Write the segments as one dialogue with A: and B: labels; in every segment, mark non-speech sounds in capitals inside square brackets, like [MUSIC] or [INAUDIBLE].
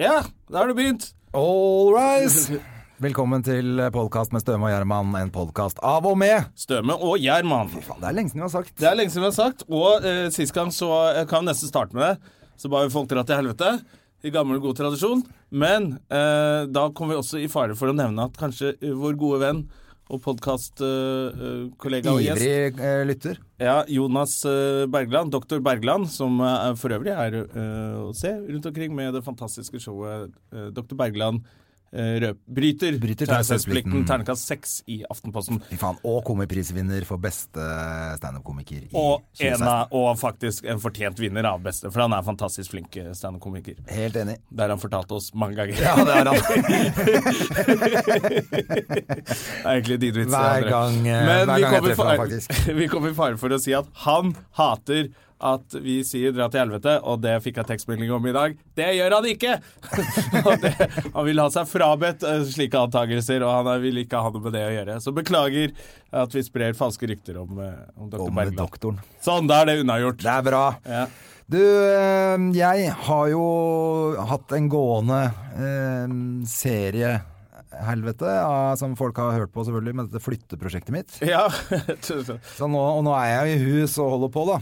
A: Ja, da har du begynt.
B: All rise! [LAUGHS] Velkommen til podkast med Støme og Gjerman, en podkast av og med.
A: Støme og Gjerman.
B: Det er lenge siden vi har sagt.
A: Det er lenge siden vi har sagt, og eh, sist gang så jeg kan nesten starte med det. Så ba vi folk dra til helvete. I gammel, god tradisjon. Men eh, da kom vi også i fare for å nevne at kanskje eh, vår gode venn og podkastkollega og gjest
B: Ivrig eh, lytter.
A: ja, Jonas eh, Bergland, doktor Bergland, som eh, for øvrig er eh, å se rundt omkring med det fantastiske showet eh, Doktor Bergland eh, røp, bryter,
B: Bryter
A: taushetsplikten,
B: taushetsplikten.
A: terningkast seks i Aftenposten.
B: Fy faen. Og komiprisvinner for beste standup-komiker i
A: Og, en
B: 2016.
A: av, og faktisk en fortjent vinner av beste, for han er fantastisk flink eh, standup-komiker.
B: Helt enig.
A: Det har han fortalt oss mange ganger.
B: Ja, det
A: [LAUGHS]
B: er han.
A: Det er egentlig din vits.
B: Hver
A: André.
B: gang, eh,
A: Men
B: hver
A: vi
B: gang jeg
A: kom i
B: treffer ham,
A: fare-
B: faktisk.
A: [LAUGHS] Vi kom i fare for å si at han hater at vi sier 'dra til helvete', og det fikk jeg tekstmelding om i dag. Det gjør han ikke! [LAUGHS] Og det, han vil ha seg frabedt eh, slike antakelser, og han er- vil ikke ha noe med det å gjøre. Så beklager at vi sprer falske rykter om, eh, om dr.
B: Om
A: Bergland.
B: doktoren.
A: Sånn, da er det unnagjort.
B: Det er bra.
A: Ja.
B: Du, eh, jeg har jo hatt en gående eh, serie helvete, av- som folk har hørt på selvfølgelig, med dette flytteprosjektet mitt.
A: Ja, [LAUGHS]
B: Så nå, og nå er jeg jo i hus og holder på, da.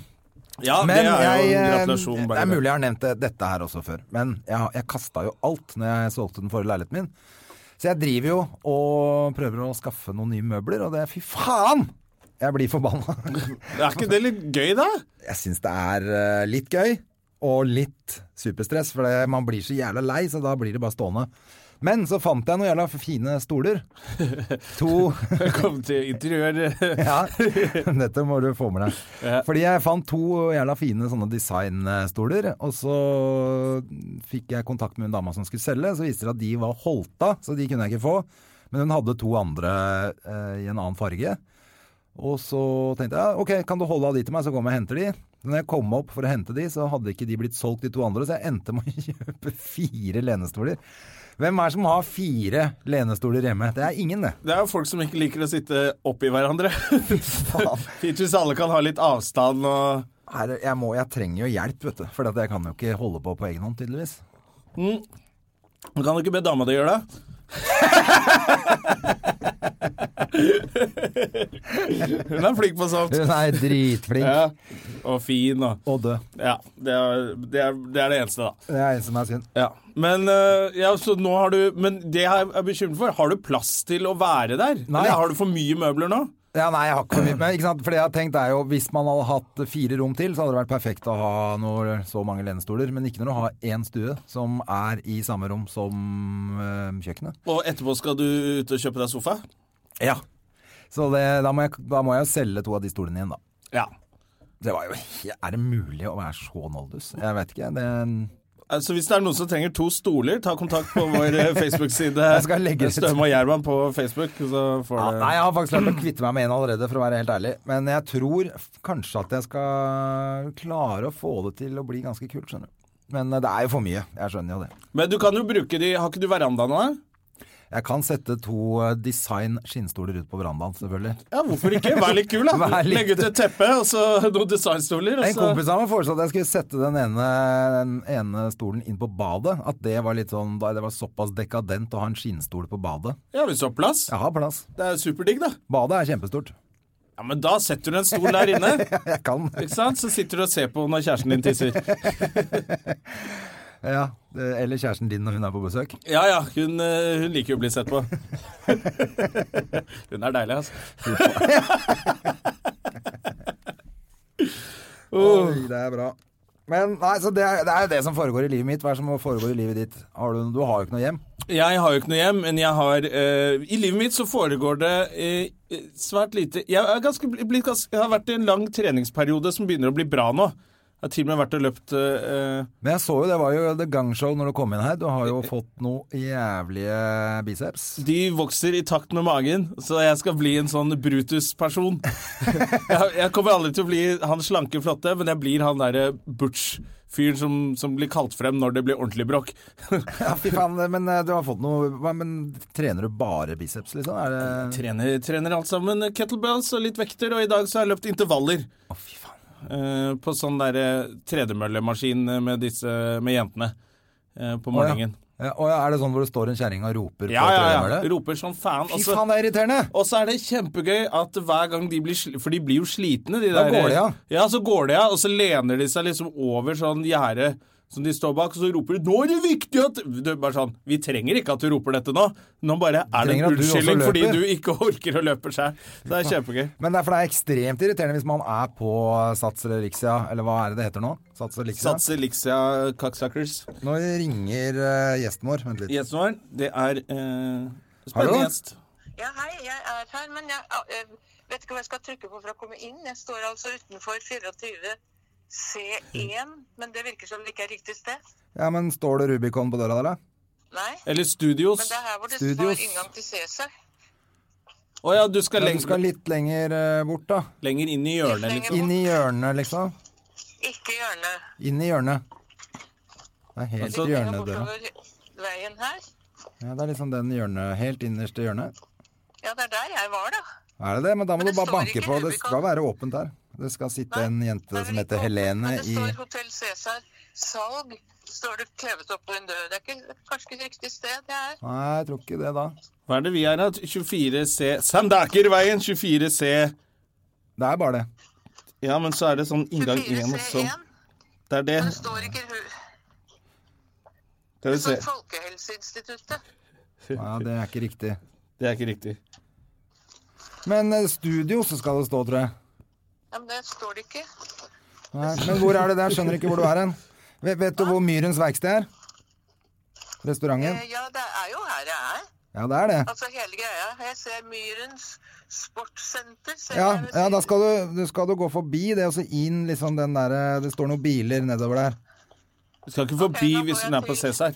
A: ja
B: Men
A: det er jo
B: jeg,
A: en
B: eh,
A: gratulasjon.
B: Det
A: Bergland.
B: er mulig jeg har nevnt det, dette her også før, men jeg, har- jeg kasta jo alt når jeg solgte den forrige leiligheten min. Så jeg driver jo og prøver å skaffe noen nye møbler, og det Fy faen! Jeg blir forbanna.
A: Er ikke det litt gøy, da?
B: [LAUGHS] Jeg syns det er eh, litt gøy og litt superstress, for det, man blir så jævla lei, så da blir det bare stående. Men så fant jeg noen jævla fine stoler. To [LAUGHS]
A: Velkommen til interiør. [LAUGHS]
B: Ja, [LAUGHS] dette må du få med deg. Fordi jeg fant to jævla fine sånne designstoler, og så fikk jeg kontakt med en dama som skulle selge, så viste det seg at de var Holta, så de kunne jeg ikke få. Men hun hadde to andre eh, i en annen farge. Og så tenkte jeg, ja, ok, kan du holde av de til meg, så kommer jeg og henter de. Men når jeg kom opp for å hente de, så hadde ikke de blitt solgt de to andre, så jeg endte med å [LAUGHS] kjøpe fire lenestoler. Hvem er det som har fire lenestoler hjemme? Det er ingen, det.
A: Det er jo folk som ikke liker å sitte oppi hverandre. [LAUGHS]
B: Faen.
A: Fint hvis alle kan ha litt avstand og
B: Her, jeg, må, jeg trenger jo hjelp, vet du. For at jeg kan jo ikke holde på på egen hånd, tydeligvis.
A: Men Kan du ikke be dama di gjøre det? [LAUGHS] Hun er flink på sånt.
B: Hun er dritflink
A: Ja. Og fin og
B: og død.
A: Ja. Det er det, er, det, er det eneste, da.
B: Det er en som er synd.
A: Ja. Men, øh, ja, så nå har du, men det jeg er bekymret for, har du plass til å være der?
B: Nei.
A: Eller har du for mye møbler nå?
B: Ja, nei, jeg har ikke for mye men, ikke sant? For det jeg har tenkt er jo, hvis man hadde hatt fire rom til, så hadde det vært perfekt å ha noe, så mange lenestoler. Men ikke når du har én stue som er i samme rom som øh, kjøkkenet.
A: Og etterpå skal du ut og kjøpe deg sofa?
B: Ja. Så det, da, må jeg, da må jeg jo selge to av de stolene igjen, da.
A: Ja.
B: Det var jo, er det mulig å være så noldus? Jeg vet ikke. Det,
A: Altså, hvis det er noen som trenger to stoler, ta kontakt på vår
B: [LAUGHS]
A: eh, Facebook-side.
B: Jeg skal legge ut.
A: Støme og Gjerman på Facebook, så får
B: Ja,
A: du
B: nei, jeg har faktisk klart å kvitte meg med en allerede, for å være helt ærlig. Men jeg tror f- kanskje at jeg skal klare å få det til å bli ganske kult, skjønner du. Men eh, det er jo for mye. Jeg skjønner jo det.
A: Men du kan jo bruke de Har ikke du veranda nå? eh?
B: Jeg kan sette to eh, design skinnstoler ut på verandaen, selvfølgelig.
A: Ja, hvorfor ikke? Vær litt kul, da.
B: [LAUGHS] Vær litt-
A: Legg ut et teppe og så [LAUGHS] noen designstoler.
B: En
A: Og så...
B: kompis av meg foreslo at jeg skulle sette den ene, den ene stolen inn på badet. At det var litt sånn da Det var såpass dekadent å ha en skinnstol på badet.
A: Ja, hvis du har plass.
B: Jeg har plass.
A: Det er superdigg, da.
B: Badet er kjempestort.
A: Ja, Men da setter du en stol der inne.
B: [LAUGHS] Jeg kan
A: Ikke sant? Så sitter du og ser på når kjæresten din tisser.
B: Ja. eh, Eller kjæresten din når hun er på besøk.
A: Ja ja, hun, eh, hun liker jo å bli sett
B: [LAUGHS]
A: på. Hun er deilig, altså.
B: Oi, det er bra. Men nei, så det er, det er jo det som foregår i livet mitt. Hva er det som foregår i livet ditt? Har du, du har jo ikke noe hjem.
A: Jeg har jo ikke noe hjem, men jeg har eh, I livet mitt så foregår det eh, svært lite jeg, er ganske, bli- blitt ganske, jeg har vært i en lang treningsperiode som begynner å bli bra nå. Jeg har til og med vært og løpt eh,
B: Men jeg så jo, det var jo The Gang Show når du kom inn her. Du har [LAUGHS] jo fått noe jævlige biceps.
A: De vokser i takt med magen, så jeg skal bli en sånn Brutus-person. [LAUGHS] jeg, jeg kommer aldri til å bli han slanke, flotte, men jeg blir han derre butch-fyren som, som blir kalt frem når det blir ordentlig bråk.
B: [LAUGHS] Ja, fy faen, men eh, du har fått noe hva- Men trener du bare biceps, liksom? Er det
A: trener, trener alt sammen kettlebells og litt vekter, og i dag så har jeg løpt intervaller.
B: Å, fy faen.
A: eh, på sånn derre tredemøllemaskin med disse med jentene eh, på
B: Å, ja.
A: morgenen.
B: Ja, og er det sånn hvor det står en kjerring og roper altså-
A: Ja,
B: på
A: ja, ja.
B: trenermølle?
A: Roper som faen.
B: Fy
A: og så-
B: faen, det er irriterende!
A: Og så er det kjempegøy at hver gang de blir sli- For de blir jo slitne, de
B: Da
A: der
B: går de av.
A: Ja, så går de av, og så lener de seg liksom over sånn gjerde som de står bak, og så roper de 'Nå er det viktig at Det er bare sånn Vi trenger ikke at du roper dette nå. Nå bare er det
B: trenger
A: en
B: at du også
A: unnskyldning fordi
B: løper.»
A: du ikke orker å løpe sjøl. Det er kjempegøy.
B: Men derfor er det ekstremt irriterende hvis man er på Sats eller Rixia, eller hva er det det heter nå? Sats eller Rixia?
A: Sats Elixia Cocksuckers.
B: Nå ringer eh, gjesten vår. Vent litt.
A: Gjesten vår, det er eh,
B: Hallo?
A: Spennende gjest.
C: Ja, hei, jeg er her, men jeg eh, vet ikke hva jeg skal trykke på for å komme inn. Jeg står altså utenfor 24 C1, men det virker som det ikke er riktig sted.
B: Ja, men står det Rubicon på døra der, da?
C: Nei,
A: Eller Studios.
C: men det er her hvor det
B: Studios.
C: står inngang til Cæsar.
A: Å ja, du skal,
B: Ja,
A: lenger,
B: du skal litt lenger eh, bort, da.
A: lenger inn i hjørnet,
C: Lenger
A: liksom.
B: Inn i hjørnet, liksom.
C: Ikke hjørnet.
B: Inn i hjørnet. Det er helt
A: Altså-
B: hjørnedøra.
C: bortover veien her.
B: Ja, det er liksom den hjørnet, helt innerste hjørnet.
C: Ja, det er der jeg var, da.
B: Er det det? Men da må
C: Men
B: du
C: det
B: bare
C: står
B: banke
C: ikke
B: på. Det
C: Rubicon.
B: skal være åpent der. Det skal sitte
C: Nei,
B: en jente
C: det er
B: som
C: vel
B: heter
C: ikke
B: Helene
C: åpent,
B: i
C: Men det står Hotell Cæsar. Salg står det klevet opp på en dør. Det er ikke, kanskje ikke riktig sted det er.
B: Nei, jeg tror ikke det, da.
A: Hva er det vi er her? 24C Sandakerveien 24C
B: Det er bare det.
A: Ja, men så er det sånn inngang
C: 24
A: én og så
C: C1,
A: Det er det.
C: men det står ikke hu...
A: Skal vi
C: Det
A: se.
C: står Folkehelseinstituttet.
B: Ja, det er ikke riktig.
A: Det er ikke riktig.
B: Men eh, studio så skal det stå, tror jeg.
C: Ja, men det står det ikke.
B: Nei, men hvor er det der? Skjønner ikke hvor du er hen. Vet, vet du hvor Myrens verksted er? Restauranten?
C: Eh, ja, det er jo her jeg er.
B: Ja, det er det.
C: Altså hele greia. Jeg ser Myrens sportssenter. ser
B: Ja,
C: jeg ved
B: ja da
C: siden.
B: skal du, du skal du gå forbi det, og så inn liksom den der eh, Det står noen biler nedover der.
A: Du skal ikke forbi
C: Ok, da går
A: hvis
C: jeg
A: hun er på
C: til-
A: Cæsar.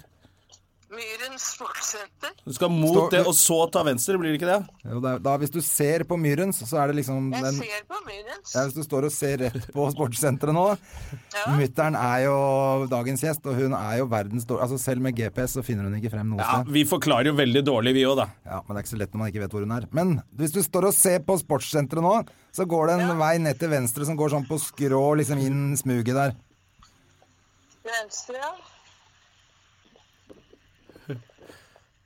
C: Myrens sportssenter.
A: Du skal mot
B: Står-
A: det, og så ta venstre, blir det ikke det?
B: Jo, det er- da, hvis du ser på Myrens, så er det liksom
C: Jeg
B: den
C: ser på Myrens.
B: ja, Hvis du står og ser rett på sportssenteret nå
C: Ja.
B: Mutter'n er jo dagens gjest, og hun er jo verdens dårlig... Altså, selv med GPS så finner hun ikke frem noe
A: Ja,
B: sted.
A: Vi forklarer jo veldig dårlig, vi òg, da.
B: Ja, Men det er ikke så lett når man ikke vet hvor hun er. Men hvis du står og ser på sportssenteret nå, så går det en vei ned til venstre som går sånn på skrå liksom inn smuget der.
C: Venstre, ja.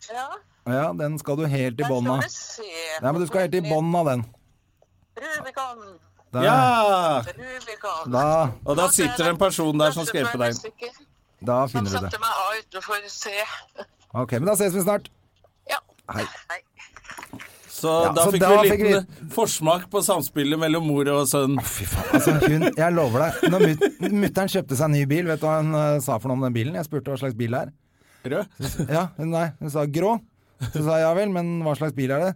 C: Ja,
B: Ja, den skal du helt i
C: der
B: bånn
C: står
B: av.
C: det C.
B: Nei, men du skal helt i bånn av den.
C: Rubicon.
B: Der.
A: Ja!
C: Rubicon.
B: Da,
A: Og da sitter det en person der som skal hjelpe deg.
C: deg.
B: da
C: Han
B: finner du det.
C: satte meg av utenfor C.
B: Ok, men da ses vi snart.
C: Ja.
B: Hei.
C: Hei.
A: Så
B: Ja,
A: da
B: så
A: fikk vi
B: da
A: en
B: fikk vi-
A: liten eh, forsmak på samspillet mellom mor og sønn.
B: Fy faen, altså hun, jeg lover deg. Når mut- mutter'n kjøpte seg en ny bil, vet du hva hun eh, sa for noe om den bilen? Jeg spurte hva slags bil det er.
A: Rød.
B: Ja, hun, nei, hun sa grå. Så sa jeg ja vel, men hva slags bil er det?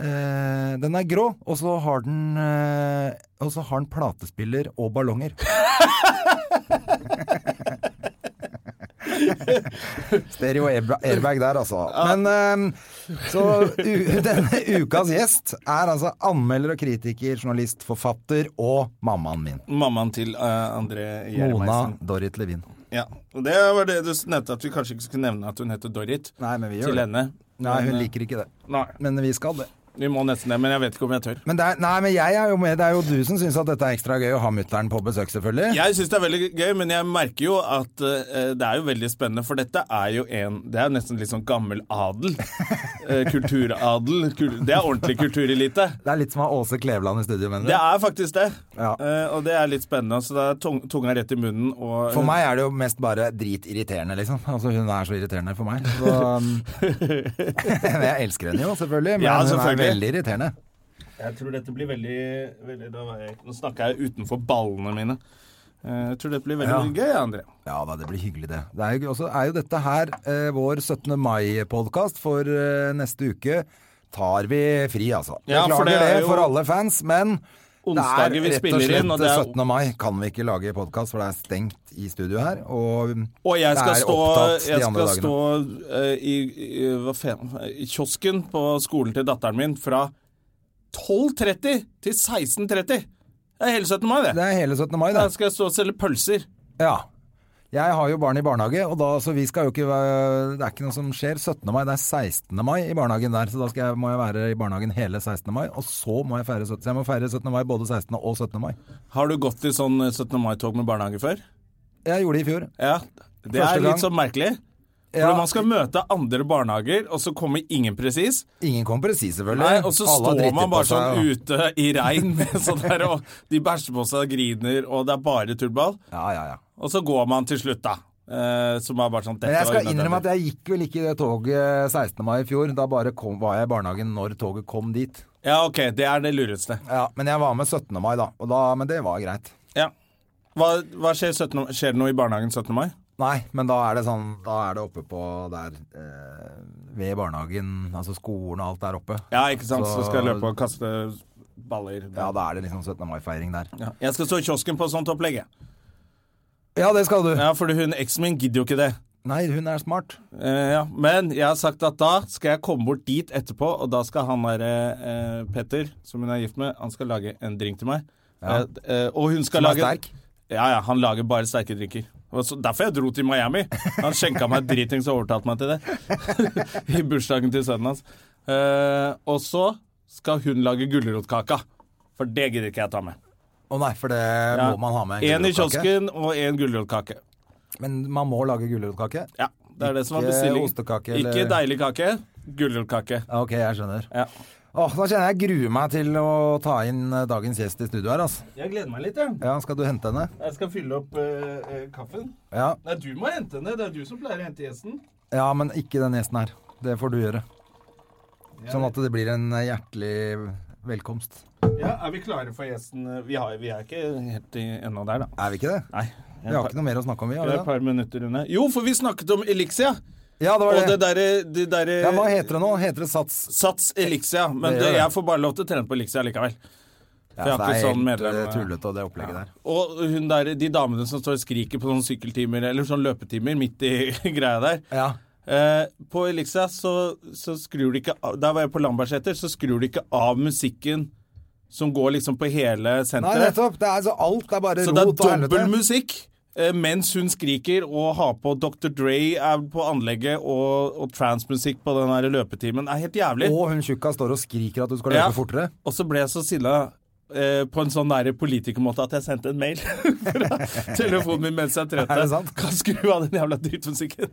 B: Eh, den er grå, og så har den eh, Og så har den platespiller og ballonger. [LAUGHS] Stereo airba- airbag der, altså. Men eh, så u [LAUGHS] denne ukas gjest er altså anmelder og kritiker, journalist, forfatter og mammaen min.
A: [LAUGHS] Mammaen til eh, André
B: Mona
A: Gjermeisen.
B: Dorrit Levin.
A: Ja. Og det var det du nevnte, at vi kanskje ikke skulle nevne at hun heter Dorrit.
B: Nei, men vi gjør
A: Til
B: det.
A: henne.
B: Nei,
A: Men,
B: hun
A: eh,
B: liker ikke det.
A: Nei.
B: Men vi skal det.
A: Vi må nesten det, men jeg vet ikke om jeg tør.
B: Men det er, nei, men jeg er jo med. Det er jo du som syns at dette er ekstra gøy å ha mutter'n på besøk, selvfølgelig.
A: Jeg syns det er veldig gøy, men jeg merker jo at eh, det er jo veldig spennende, for dette er jo en Det er nesten litt sånn gammel
B: [LAUGHS]
A: adel. Eh, kulturadel. Kul, det er ordentlig kulturelite.
B: Det er litt som å ha Åse Kleveland i studio, mener
A: Det
B: du?
A: er faktisk det.
B: Ja.
A: Eh, og det er litt spennende. Så det er tung, tunga rett i munnen og
B: For meg er det jo mest bare dritirriterende, liksom. Altså, hun er så irriterende for meg.
A: [LAUGHS]
B: Så, [LAUGHS] um, men jeg elsker henne jo, selvfølgelig. Men
A: Ja,
B: hun er
A: selvfølgelig.
B: veldig irriterende.
A: Jeg tror dette blir veldig, veldig da var jeg, Nå snakker jeg utenfor ballene mine. Eh, jeg tror dette blir veldig, veldig gøy, André.
B: Ja da, det blir hyggelig, det. Det er jo, også, er jo dette her eh, vår 17. mai-podkast for eh, neste uke. Tar vi fri, altså.
A: Ja,
B: Beklager
A: for
B: det,
A: det er jo-
B: for alle fans, men
A: onsdager vi spiller inn, og
B: Det
A: det
B: er
A: er
B: rett og slett 17. mai kan vi ikke lage podkast, for det er stengt i studio her. Og,
A: Og jeg skal
B: det er
A: stå,
B: opptatt de
A: jeg
B: andre
A: skal
B: dagene.
A: stå eh, i, i, hva faen, i kiosken på skolen til datteren min fra 12.30 til 16.30. Det er hele 17. mai, det.
B: Det er hele 17. mai, det.
A: Da skal jeg stå og selge pølser.
B: Ja. Jeg har jo barn i barnehage, og da, så vi skal jo ikke være, det er ikke noe som skjer 17. mai, det er 16. mai i barnehagen der, så da skal jeg, må jeg være i barnehagen hele 16. mai, og så må jeg feire 17. Så jeg må feire 17. mai både 16. og 17. mai.
A: Har du gått i sånn 17. mai-tog med barnehage før?
B: Jeg gjorde det i fjor.
A: Ja. Det
B: Første
A: er
B: gang.
A: litt sånn merkelig. For
B: Ja.
A: man skal møte andre barnehager, og så kommer ingen presis.
B: Ingen kom presis, selvfølgelig.
A: Nei, og så
B: Alle har
A: står
B: driti
A: man bare
B: på seg,
A: sånn
B: og-
A: ute i regn [LAUGHS] med sånn der, og de bæsjer på seg og griner, og det er bare tullball.
B: Ja, ja, ja.
A: Og så går man til slutt, da. Eh, som er bare sånn
B: Men jeg skal innrømme at jeg gikk vel ikke i det toget 16. mai i fjor. Da bare kom, var jeg i barnehagen når toget kom dit.
A: Ja, OK. Det er det lureste.
B: Ja, Men jeg var med 17. mai, da. Og da men det var greit.
A: Ja. Hva, hva skjer 17. mai? Skjer det noe i barnehagen 17. mai?
B: Nei, men da er det sånn Da er det oppe på der eh, Ved barnehagen, altså skolen og alt der oppe.
A: Ja, ikke sant? Så,
B: Så-
A: skal jeg løpe og kaste baller.
B: Ja, da er det liksom 17. mai-feiring der.
A: Ja. Jeg skal stå i kiosken på sånt opplegg, jeg.
B: Ja, det skal du.
A: Ja, for hun eksen min gidder jo ikke det.
B: Nei, hun er smart.
A: Eh, ja. Men jeg har sagt at da skal jeg komme bort dit etterpå, og da skal han derre eh, Petter, som hun er gift med, han skal lage en drink til meg. Eh, d- eh, og hun skal
B: Som er
A: lage
B: sterk?
A: Ja, ja, han lager bare sterke drinker. Og så, derfor jeg dro til Miami. Han skjenka meg dritings og overtalte meg til det. [LAUGHS] I bursdagen til sønnen hans. Eh, og så skal hun lage gulrotkaka. For det gidder ikke jeg ta med.
B: Å nei, for det
A: Ja.
B: må man ha med.
A: en i
B: gulrotkake.
A: kiosken og en gulrotkake.
B: Men man må lage gulrotkake?
A: Ja, det er det som er
B: Ikke
A: bestillingen.
B: ostekake,
A: Ikke
B: eller-
A: deilig kake, gulrotkake.
B: Ja, Ok, jeg skjønner.
A: Ja.
B: Åh, da kjenner jeg jeg gruer meg til å ta inn eh, dagens gjest i studio her, altså.
A: Jeg gleder meg litt, jeg.
B: Ja, skal du hente henne?
A: Jeg skal fylle opp eh, eh, kaffen.
B: Ja.
A: Nei, du må hente henne. Det er du som pleier å hente gjesten.
B: ja, men ikke den gjesten her. Det får du gjøre. Sånn at det blir en eh, hjertelig velkomst.
A: Ja, Er vi klare for gjesten? Vi, har, vi er ikke helt i- ennå der, da.
B: Er vi ikke det?
A: Nei.
B: Vi har ikke noe mer å snakke om, vi?
A: Vi
B: Har
A: er et
B: vi det?
A: par minutter unna. Jo, for vi snakket om Elixia.
B: Ja, det
A: Og
B: var
A: det
B: det.
A: derre det derre
B: Ja, hva heter det nå? Heter det Sats?
A: Sats Elixia. Men
B: Det
A: det,
B: gjør det.
A: jeg får bare lov til å trene på Elixia likevel.
B: Ja,
A: For jeg har
B: det er
A: ikke sånn
B: helt
A: medlem.
B: eh, tullete, og det opplegget der.
A: Og hun der, de damene som står og skriker på sånne sykkeltimer eller sånne løpetimer midt i [LAUGHS] greia der.
B: Ja.
A: Eh, på Elixia så, så skrur de ikke av Der var jeg på Lambertseter, så skrur de ikke av musikken som går liksom på hele
B: Nei,
A: senteret.
B: nettopp. Det er, altså, alt er bare
A: så
B: rot
A: det
B: og
A: er dobbel
B: helvete.
A: musikk eh, mens hun skriker og har på Dr. Dre er på anlegget og, og transmusikk på den her løpetimen. Det er helt jævlig.
B: Og hun tjukka står og skriker at du skal løpe
A: Ja. [LAUGHS]
B: fortere.
A: Og så ble jeg så sinna eh, på en sånn nære politikermåte at jeg sendte en mail [LAUGHS] fra telefonen min mens jeg trente.
B: Er det sant?
A: Kan skru av den jævla drittmusikken.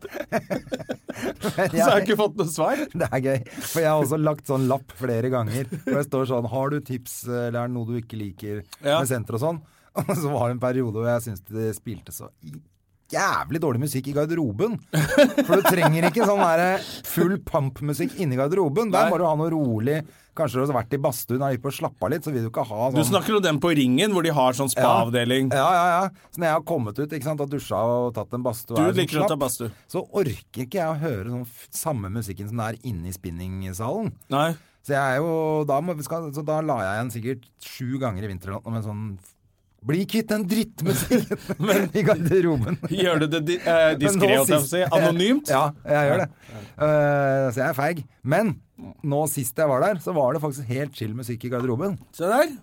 A: Så har jeg ikke fått noe svar.
B: [LAUGHS] Det er gøy, for jeg har også lagt sånn lapp flere ganger. Hvor jeg står sånn Har du tips, eller er det noe du ikke liker
A: Ja.
B: med senter og sånn? [LAUGHS] Og så var det en periode hvor jeg syntes de spilte så jævlig dårlig musikk i garderoben. For du trenger ikke sånn der full pump-musikk inni garderoben. Der
A: Nei.
B: må du ha noe rolig. Kanskje du har vært i badstuen og gikk på og slappa litt, så vil du ikke ha sånn
A: Du snakker om den på Ringen, hvor de har sånn spa-avdeling.
B: Ja, ja, ja. Så når jeg har kommet ut ikke sant, og dusja og tatt en badstue,
A: Du
B: og er litt
A: liker å ta
B: slapp,
A: badstue.
B: så orker ikke jeg å høre sånn f- samme musikken som det er inne i spinningsalen.
A: Nei.
B: Så jeg er jo da, må, skal, så da la jeg igjen sikkert sju ganger i vinter eller noe med sånn Bli kvitt den
A: [LAUGHS]
B: drittmusikken [LAUGHS] i garderoben.
A: Gjør du det [LAUGHS] di eh, diskré,
B: Men
A: holdt jeg på
B: nå
A: å
B: sist-
A: si? Anonymt?
B: [LAUGHS] Ja, jeg gjør det. Eh, så jeg er feig. Men nå sist jeg var der, så var det faktisk helt chill musikk i garderoben.
A: Se der.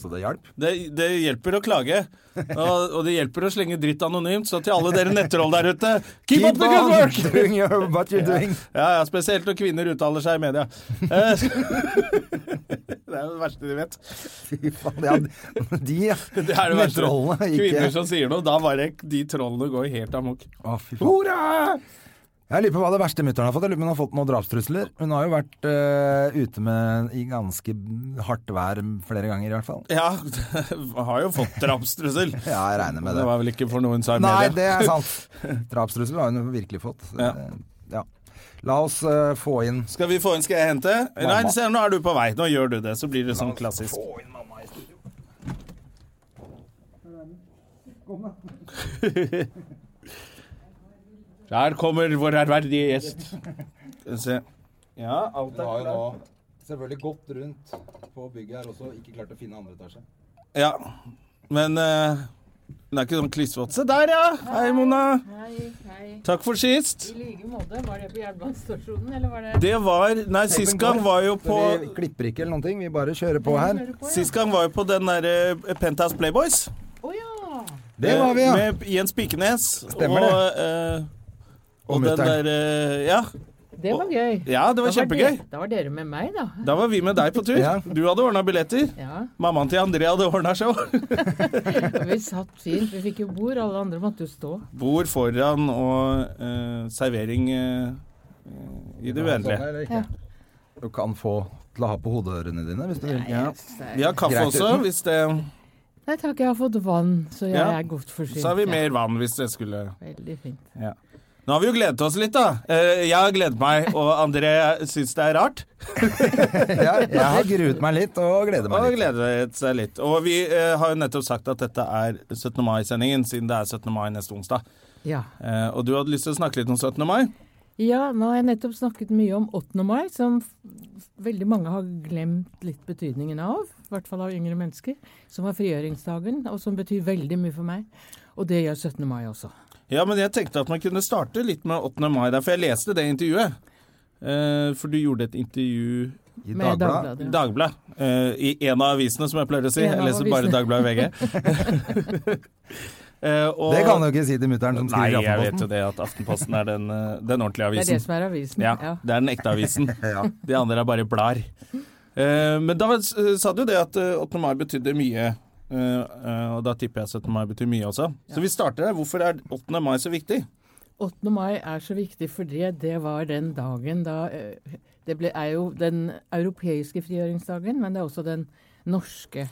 B: Så det hjalp.
A: Det, det hjelper å klage. Og, og det hjelper å slenge dritt anonymt. Så til alle dere nettroll der ute, keep, up the good work!
B: doing your, what you're doing.
A: Ja, ja, spesielt når kvinner uttaler seg i media. Eh, [LAUGHS] det er jo det verste de vet.
B: Fy faen, ja, de
A: [LAUGHS] Det er det verste.
B: nettrollene
A: Kvinner
B: ikke
A: som sier noe, da bare de trollene går helt amok.
B: Å, fy faen.
A: Hurra!
B: Jeg lurer på hva det verste mutter'n har fått. Jeg lurer på om hun har fått noen drapstrusler. Hun har jo vært eh, ute med i ganske hardt vær flere ganger, i hvert fall.
A: Ja, [LAUGHS] har jo fått drapstrussel.
B: Ja, jeg regner med
A: Det
B: det.
A: var vel ikke for noe hun sa i
B: Nei,
A: media.
B: det er sant. Drapstrusler har hun virkelig fått.
A: [LAUGHS] Ja.
B: Eh, ja. La oss eh, få inn
A: Skal vi få inn, skal jeg hente? Nei, se, nå er du på vei. Nå gjør du det, så blir det sånn klassisk. [LAUGHS] Der kommer vår ærverdige gjest. Skal vi se. Ja, alt er klart.
B: selvfølgelig gått rundt på bygget her også, ikke klart å finne andre etasje.
A: Ja. Men eh, den er ikke sånn klissvåt. Se der, ja! Hei, Mona.
D: Hei, hei.
A: Takk for sist.
D: I like måte. Var det på jernbanestasjonen, eller var det
A: Det var Nei, sist gang var jo på
B: Så Vi klipper ikke eller noen ting, vi bare kjører på her.
D: Hører på, ja.
A: Sist gang var jo på den derre Penthouse Playboys.
D: Å ja!
B: Det var vi, ja.
A: Med Jens Pikenes.
B: Stemmer
A: og, eh, og,
B: Og
A: den
B: mutter'n.
A: derre Ja.
D: Det var gøy.
A: ja, det var
D: Da
A: kjempegøy.
D: dere- Da var dere med meg, da.
A: Da var vi med deg på tur.
B: Ja.
A: Du hadde ordna billetter.
D: Ja,
A: Mammaen til André hadde ordna show. [LAUGHS]
D: og Vi satt fint. Vi fikk jo bord. Alle andre måtte jo stå.
A: Bord foran og eh, servering eh, i det uendelige.
D: Ja.
B: Du kan få til å ha på hodeørene dine hvis du vil.
D: Nei, jeg synes det er-
A: Vi har kaffe
B: Greit
A: også,
B: uten.
A: hvis det
D: Nei takk, jeg har fått vann, så jeg
A: Ja.
D: er godt forsynt.
A: Så har vi
D: Ja,
A: mer vann hvis det skulle
D: Veldig fint.
A: Nå har vi jo gledet oss litt, da. Eh, Jeg har gledet meg, og André syns det er rart.
B: Ja, [LAUGHS] jeg har gruet meg litt og gleder meg
A: Og
B: litt.
A: gledet seg litt. Og vi eh, har jo nettopp sagt at dette er 17. mai-sendingen, siden det er 17. mai neste onsdag.
D: Ja.
A: Eh, og du hadde lyst til å snakke litt om 17. mai?
D: ja, nå har jeg nettopp snakket mye om 8. mai, som f- veldig mange har glemt litt betydningen av. I hvert fall av yngre mennesker. Som var frigjøringsdagen, og som betyr veldig mye for meg. Og det gjør 17. mai også.
A: Ja, men jeg tenkte at man kunne starte litt med 8. mai, der, for jeg leste det intervjuet. Eh, for du gjorde et intervju
B: I
D: Med
B: Dagbladet.
A: Dagbladet.
D: Dagbladet.
A: eh, I en av avisene, som jeg pleier å si.
D: En av
A: Jeg leser bare
D: avisene.
A: Dagbladet
D: [LAUGHS]
A: og VG. Eh, og-
B: Det kan du ikke si til mutter'n som
A: Nei,
B: skriver i
A: jeg vet jo
B: Aftenposten.
A: det at Aftenposten er den, eh, den ordentlige
D: Det
A: avisen.
D: er det som er avisen.
A: Ja,
D: Ja.
A: det er den ekte avisen.
B: [LAUGHS] Ja.
A: De andre er bare blar. Eh, men da var- sa du jo det at eh, 8. mai betydde mye. eh, eh, og da tipper jeg 17. mai betyr mye også. Så vi starter der. Hvorfor er 8. mai så viktig?
D: 8. mai er så viktig fordi det var den dagen da eh, Det ble, er jo den europeiske frigjøringsdagen, men det er også den norske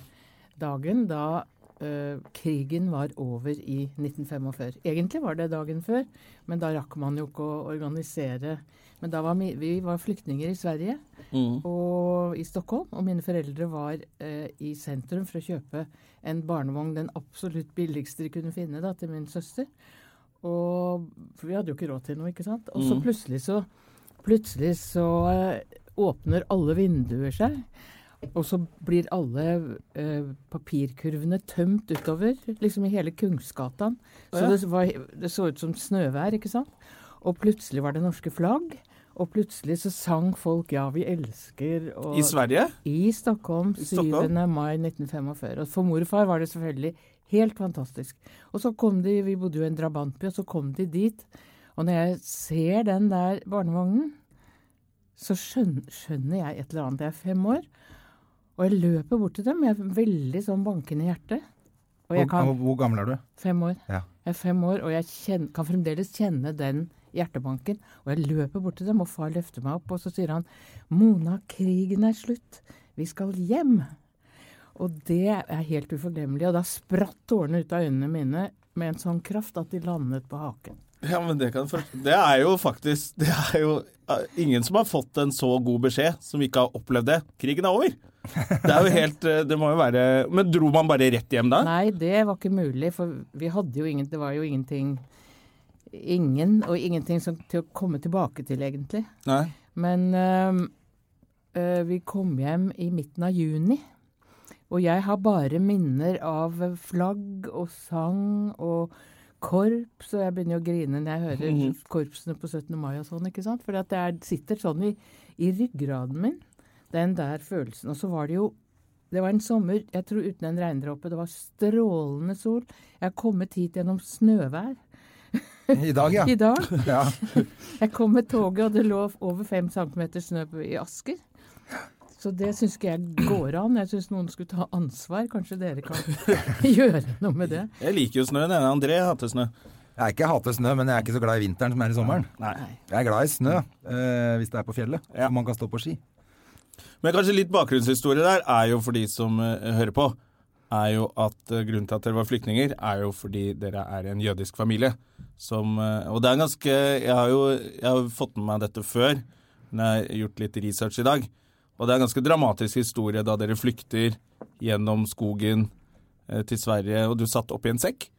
D: dagen da eh, krigen var over i 1945. Egentlig var det dagen før, men da rakk man jo ikke å organisere Men da var mi- vi var flyktninger i Sverige og i Stockholm, og mine foreldre var eh, i sentrum for å kjøpe en barnevogn, den absolutt billigste de kunne finne, da, til min søster. Og for vi hadde jo ikke råd til noe, ikke sant. Og så
A: Mm.
D: plutselig så Plutselig så eh, åpner alle vinduer seg. Og så blir alle eh, papirkurvene tømt utover, liksom i hele Kungsgatan. Så det, var, det så ut som snøvær, ikke sant. Og plutselig var det norske flagg. Og plutselig så sang folk 'Ja, vi elsker' og
A: I Sverige?
D: i Stockholm 7.
A: Stockholm?
D: mai 1945. Og for mor og far var det selvfølgelig helt fantastisk. Og så kom de, vi bodde jo i en drabantby, og så kom de dit. Og når jeg ser den der barnevognen, så skjønner, skjønner jeg et eller annet. Jeg er fem år, og jeg løper bort til dem. Jeg er veldig sånn bankende hjerte. Og jeg
B: Hvor,
D: kan
B: hvor gammel er du?
D: Fem år.
B: Ja.
D: Jeg er fem år, og jeg kjen- kan fremdeles kjenne den hjertebanken. Og jeg løper bort til dem, og far løfter meg opp, og så sier han Mona, krigen er slutt. Vi skal hjem. Og det er helt uforglemmelig. Og da spratt tårene ut av øynene mine med en sånn kraft at de landet på haken.
A: Ja, men det, kan for... det er jo faktisk Det er jo eh, ingen som har fått en så god beskjed, som ikke har opplevd det. Krigen er over! Det er jo helt eh, Det må jo være Men dro man bare rett hjem da?
D: Nei, det var ikke mulig, for vi hadde jo ingen Det var jo ingenting Ingen, og ingenting som, til å komme tilbake til, egentlig.
A: Nei.
D: Men øhm, øh, vi kom hjem i midten av juni, og jeg har bare minner av flagg og sang og korps, og jeg begynner å grine når jeg hører korpsene på 17. mai og sånn, ikke sant? For det er, sitter sånn i, i ryggraden min, den der følelsen. Og så var det jo det var en sommer, jeg tror uten en regndråpe. Det var strålende sol. Jeg er kommet hit gjennom snøvær
B: I dag, ja.
D: i dag.
B: ja.
D: Jeg kom med toget, og det lå over fem centimeter snø på- i Asker. Så det syns ikke jeg går an. Jeg syns noen skulle ta ansvar. Kanskje dere kan [LAUGHS] gjøre noe med det.
A: Jeg liker jo snøen. jeg. André hater snø.
B: Jeg er ikke hater snø, men jeg er ikke så glad i vinteren som er i sommeren.
A: Nei.
B: Jeg er glad i snø eh, hvis det er på fjellet, og man kan stå på ski.
A: Men kanskje litt bakgrunnshistorie der er jo for de som eh, hører på, er jo at eh, grunnen til at dere var flyktninger, er jo fordi dere er en jødisk familie. Som, eh, og det er ganske Jeg har jo jeg har fått med meg dette før, men jeg har gjort litt research i dag. Og det er en ganske dramatisk historie da dere flykter gjennom skogen eh, til Sverige, og du satt oppi en sekk.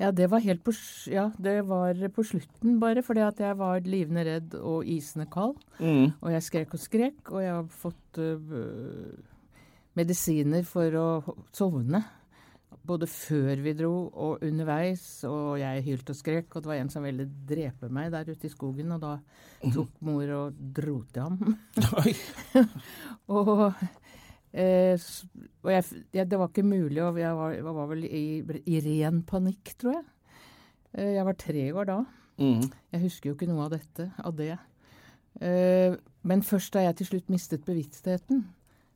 D: Ja, det var helt på, s- ja, det var på slutten, bare, fordi at jeg var livende redd og isende kald. Og jeg skrek og skrek, og jeg har fått øh, medisiner for å ho- sovne. Både før vi dro og underveis, og jeg hylte og skrek. Og det var en som ville drepe meg der ute i skogen, og da tok mor og dro til ham.
A: [LAUGHS] Oi.
D: Og, eh, s- og jeg, f- jeg, det var ikke mulig, og jeg var, jeg var vel i, i ren panikk, tror jeg. Eh, Jeg var tre år da.
A: Mm,
D: Jeg husker jo ikke noe av dette, av det. Eh, Men først da jeg til slutt mistet bevisstheten,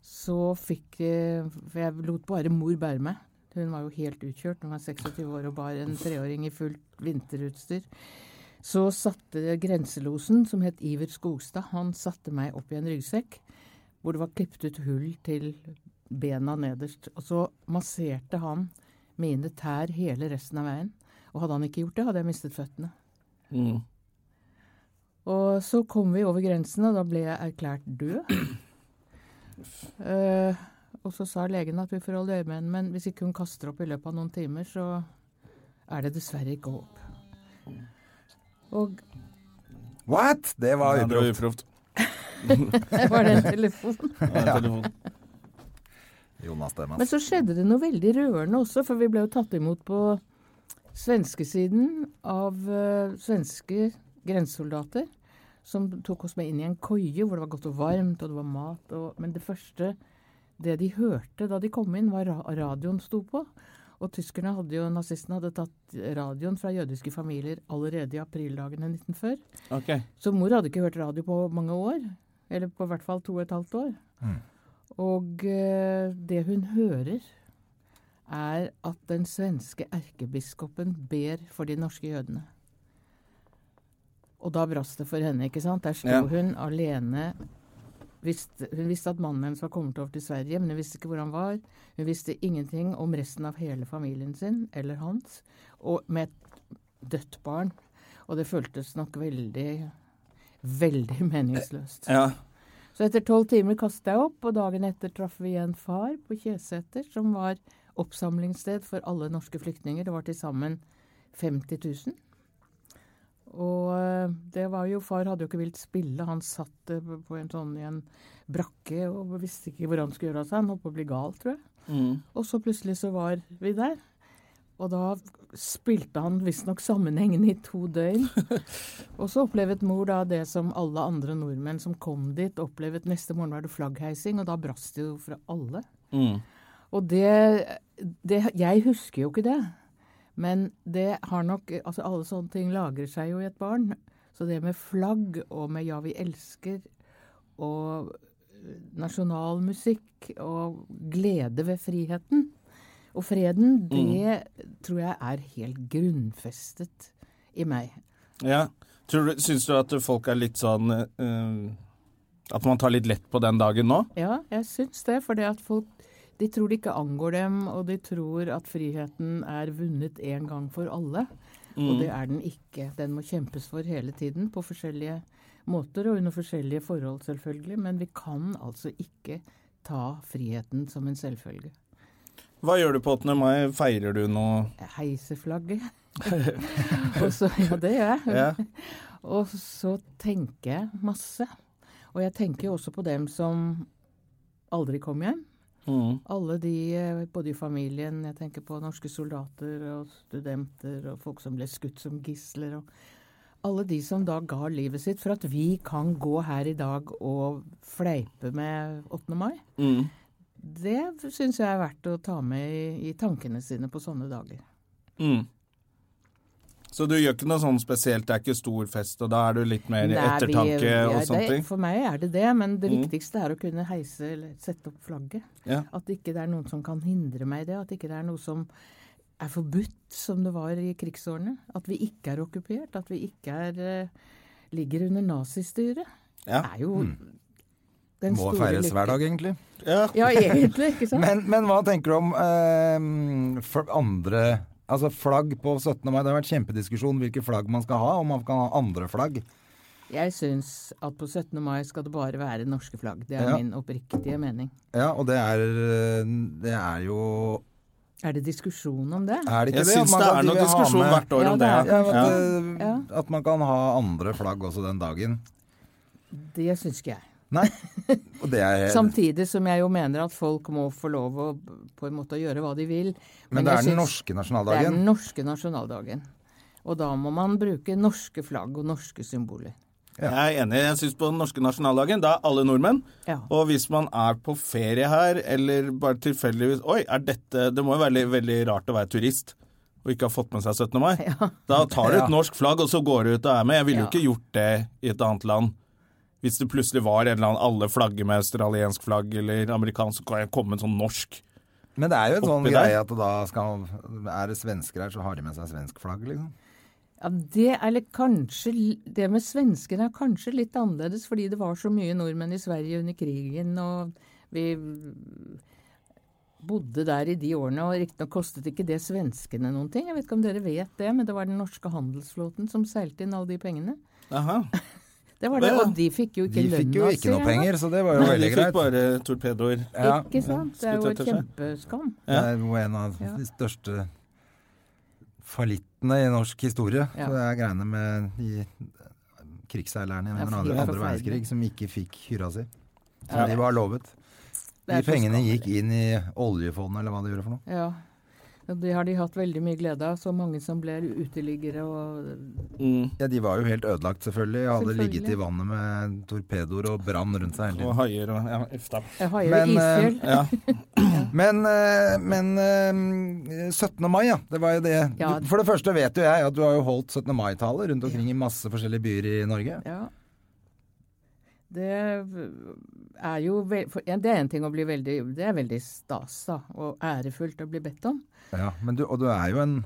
D: så fikk eh, For jeg lot bare mor bære meg. Hun var jo helt utkjørt. Hun var 26 år og bar en treåring i fullt vinterutstyr. Så satte grenselosen, som het Iver Skogstad, han satte meg opp i en ryggsekk hvor det var klippet ut hull til bena nederst. Og så masserte han mine tær hele resten av veien. Og hadde han ikke gjort det, hadde jeg mistet føttene.
A: mm.
D: Og så kom vi over grensen, og da ble jeg erklært død. Eh, og så sa legen at vi får holde øye med henne, men hvis ikke hun kaster opp i løpet av noen timer, så er det dessverre ikke håp. Og [LAUGHS]
B: What?! Det var
A: Ja, det var
B: uproft.
A: [LAUGHS] uproft.
D: var det en telefon?
A: Ja, en telefon.
B: Jonas
D: Men
B: Demas.
D: så skjedde det noe veldig rørende også, for vi ble jo tatt imot på svenskesiden av eh, svenske grensesoldater, som tok oss med inn i en køye hvor det var godt og varmt, og det var mat. Og, men det første det de hørte da de kom inn, var ra radioen sto på. Og tyskerne hadde jo, nazistene hadde tatt radioen fra jødiske familier allerede i aprildagene 1940.
A: Ok.
D: Så mor hadde ikke hørt radio på mange år. Eller på hvert fall to og et halvt år. Og eh, det hun hører, er at den svenske erkebiskopen ber for de norske jødene. Og da brast det for henne, ikke sant? Der sto
A: Ja.
D: hun alene. Visste, hun visste at mannen hennes var kommet over til Sverige, men hun visste ikke hvor han var. Hun visste ingenting om resten av hele familien sin, eller hans, og med et dødt barn. Og det føltes nok veldig, veldig meningsløst.
A: Ja.
D: Så etter tolv timer kastet jeg opp, og dagen etter traff vi en far på Kjeseter, som var oppsamlingssted for alle norske flyktninger. Det var til sammen 50 000. Og eh, det var jo, far hadde jo ikke villet spille, han satt eh, på en sånn i en brakke og visste ikke hvor han skulle gjøre av seg, han holdt på å bli gal, tror jeg. Og så plutselig så var vi der, og da spilte han visstnok sammenhengende i to døgn. Og så opplevet mor da det som alle andre nordmenn som kom dit, opplevet neste morgen var det flaggheising, og da brast det jo fra alle. Og det, det Jeg husker jo ikke det. Men det har nok Altså, alle sånne ting lagrer seg jo i et barn. Så det med flagg og med Ja, vi elsker og nasjonalmusikk og glede ved friheten og freden, det tror jeg er helt grunnfestet i meg.
A: ja. Tror du, syns du at folk er litt sånn eh, At man tar litt lett på den dagen nå?
D: Ja, jeg syns det. For det at folk de tror det ikke angår dem, og de tror at friheten er vunnet en gang for alle.
A: Mm.
D: Og det er den ikke. Den må kjempes for hele tiden på forskjellige måter og under forskjellige forhold, selvfølgelig. Men vi kan altså ikke ta friheten som en selvfølge.
A: Hva gjør du på 8. mai? Feirer du noe?
D: Jeg heiser flagget. og så, ja, det gjør jeg.
A: Ja.
D: Og så tenker jeg masse. Og jeg tenker jo også på dem som aldri kom hjem.
A: Mm.
D: Alle de, eh, både i familien, jeg tenker på norske soldater og studenter og folk som ble skutt som gisler og Alle de som da ga livet sitt for at vi kan gå her i dag og fleipe med 8. mai.
A: Mm.
D: Det syns jeg er verdt å ta med i, i tankene sine på sånne dager.
A: Mm. Så du gjør ikke noe sånn spesielt, det er ikke stor fest, og da er du litt mer i
D: Nei, vi-
A: ettertanke
D: ja,
A: og
D: det-
A: sånne ting? Mm.
D: For meg er det det, men det viktigste er å kunne heise eller sette opp flagget.
A: Ja.
D: At ikke det er noen som kan hindre meg i det. At ikke det er noe som er forbudt, som det var i krigsårene. At vi ikke er okkupert. At vi ikke er, eh, ligger under nazistyret.
A: Ja.
D: Det er jo den
B: Må
D: store
B: feires
D: lykken.
B: hver dag, egentlig.
A: Ja.
D: Ja,
A: [LAUGHS]
D: egentlig, ikke sant?
B: Men, men hva tenker du om eh, for andre Altså flagg på 17. mai. Det har vært kjempediskusjon hvilke flagg man skal ha, om man kan ha andre flagg.
D: jeg syns at på 17. mai skal det bare være norske flagg. Det er
B: Ja.
D: min oppriktige mening.
B: Ja, og det er, eh, det er jo
D: Er det diskusjon om det?
B: Er det ikke
A: Jeg
B: det? at
A: syns
B: man
A: det
B: kan-
A: er
B: de
A: noe
B: vil ha
A: diskusjon
B: med-
A: hvert år
D: Ja,
A: om
D: det
A: det.
D: er
B: Ja, men
A: Ja.
B: at, eh,
D: Ja.
B: at man kan ha andre flagg også den dagen.
D: Det syns ikke jeg. [LAUGHS]
B: Nei. Og det er
D: Samtidig som jeg jo mener at folk må få lov å på en måte gjøre hva de vil.
B: Men, det
D: jeg
B: er den
D: syns-
B: norske
D: Det er
B: nasjonaldagen.
D: den norske nasjonaldagen. Og da må man bruke norske flagg og norske symboler.
A: Jeg er enig. Jeg syns på den norske nasjonaldagen, da er alle nordmenn.
D: Ja.
A: Og hvis man er på ferie her, eller bare tilfeldigvis Oi, er dette Det må jo være veldig, veldig rart å være turist og ikke ha fått med seg 17. mai. Da tar du et norsk flagg, og så går du ut og er med. Jeg ville jo
D: Ja.
A: ikke gjort det i et annet land. Hvis det plutselig var en eller annen alle flagger med australiensk flagg eller amerikansk, så kan jeg komme med en sånn norsk.
B: Men det er jo en sånn
A: Oppi der.
B: greie at da skal, er det svensker her, så har de med seg svensk flagg, liksom.
D: Ja, det, er litt kanskje, det med svenskene er kanskje litt annerledes, fordi det var så mye nordmenn i Sverige under krigen, og vi bodde der i de årene, og riktignok kostet ikke det svenskene noen ting. Jeg vet ikke om dere vet det, men det var den norske handelsflåten som seilte inn alle de pengene.
A: Aha.
D: Det var det,
A: Ja.
D: og de fikk jo ikke
B: De
D: lønna
B: fikk jo ikke
D: si,
B: noe
D: ja.
B: penger, så det var jo
A: Nei, de
B: veldig
A: fikk
B: greit.
A: bare torpedoer.
B: Ja,
D: Ikke sant? Det er jo
A: Skutt
D: et
A: etter seg.
D: kjempeskam.
B: det er jo en av de største fallittene i norsk historie.
D: Ja.
B: Så det er greiene med de krigsseilerne
D: Ja,
B: under
D: for de
B: andre,
D: var
B: andre
D: forferdelige.
B: verdenskrig som ikke fikk hyra si. Som de var lovet.
D: Det
B: De
D: er så
B: pengene
D: skammelig.
B: gikk inn i oljefondet, eller hva det gjorde for noe.
D: Ja. Og Det har de hatt veldig mye glede av, så mange som ble uteliggere og
A: Mm,
B: Ja, De var jo helt ødelagt, selvfølgelig. Hadde ligget i
D: Selvfølgelig.
B: vannet med torpedoer og brann rundt seg hele tiden.
A: Og haier og ja, uff da.
D: Jeg har jo
B: Men, eh,
D: isfjell.
A: Ja.
B: Men, eh, men eh, 17. mai, ja. Det var jo det.
D: Ja.
B: Du, for det første vet jo jeg at du har jo holdt 17. mai-taler rundt omkring i masse forskjellige byer i Norge.
D: Ja. Det er jo vel- for- ja, Det er en ting å bli veldig Det er veldig stas da, og ærefullt å bli bedt om.
B: Ja, men du, og du er jo en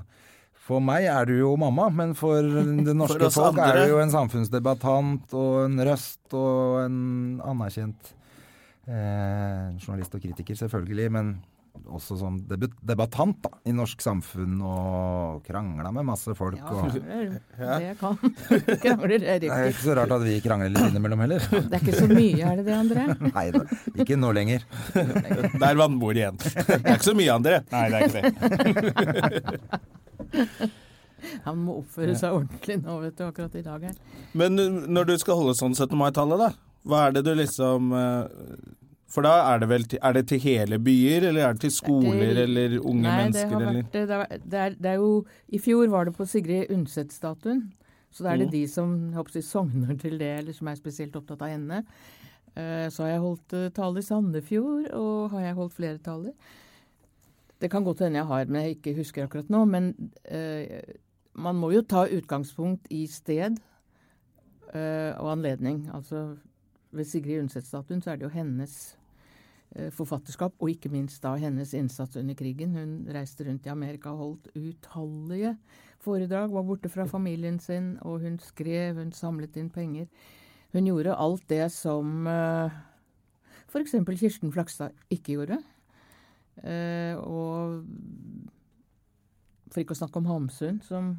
B: For meg er du jo mamma,
A: [LAUGHS]
B: men for det norske
A: oss
B: folk
A: andre.
B: er du jo en samfunnsdebattant og en røst og en anerkjent eh, journalist og kritiker, selvfølgelig. Men også som debu- debattant da, i norsk samfunn og krangla med masse folk.
D: Ja,
B: Og,
D: det er- det kan [LAUGHS] Krangler er
B: det er
D: riktig.
B: ikke så rart at vi krangler litt
A: [LAUGHS]
B: innimellom heller.
D: Det er ikke så mye, er det det, André?
B: Nei da, ikke nå lenger.
A: Der var den bord igjen. Det er ikke så mye, André. Nei, det er ikke det.
D: Han må oppføre seg ordentlig nå, vet du, akkurat i dag her.
A: Men når du skal holde sånn 17. mai-tallet, da, hva er det du liksom eh, For da er det vel til, er det til hele byer, eller er det til skoler
D: Det-
A: eller unge
D: Nei,
A: mennesker,
D: det har
A: eller
D: vært det, har vært- det, er, det er jo I fjor var det på Sigrid Undset-statuen. Så da er det de som jeg håper, å si, sogner til det, eller som er spesielt opptatt av henne. Eh, Så har jeg holdt eh, tale i Sandefjord, og har jeg holdt flere taler. Det kan godt hende jeg har, men jeg ikke husker akkurat nå. Men eh, man må jo ta utgangspunkt i sted eh, og anledning. Altså ved Sigrid Undset-statuen så er det jo hennes eh, forfatterskap, og ikke minst da hennes innsats under krigen. Hun reiste rundt i Amerika og holdt utallige foredrag, var borte fra familien sin, og hun skrev, hun samlet inn penger. Hun gjorde alt det som f.eks. Kirsten Flakstad ikke gjorde. Eh, og for ikke å snakke om Hamsun, som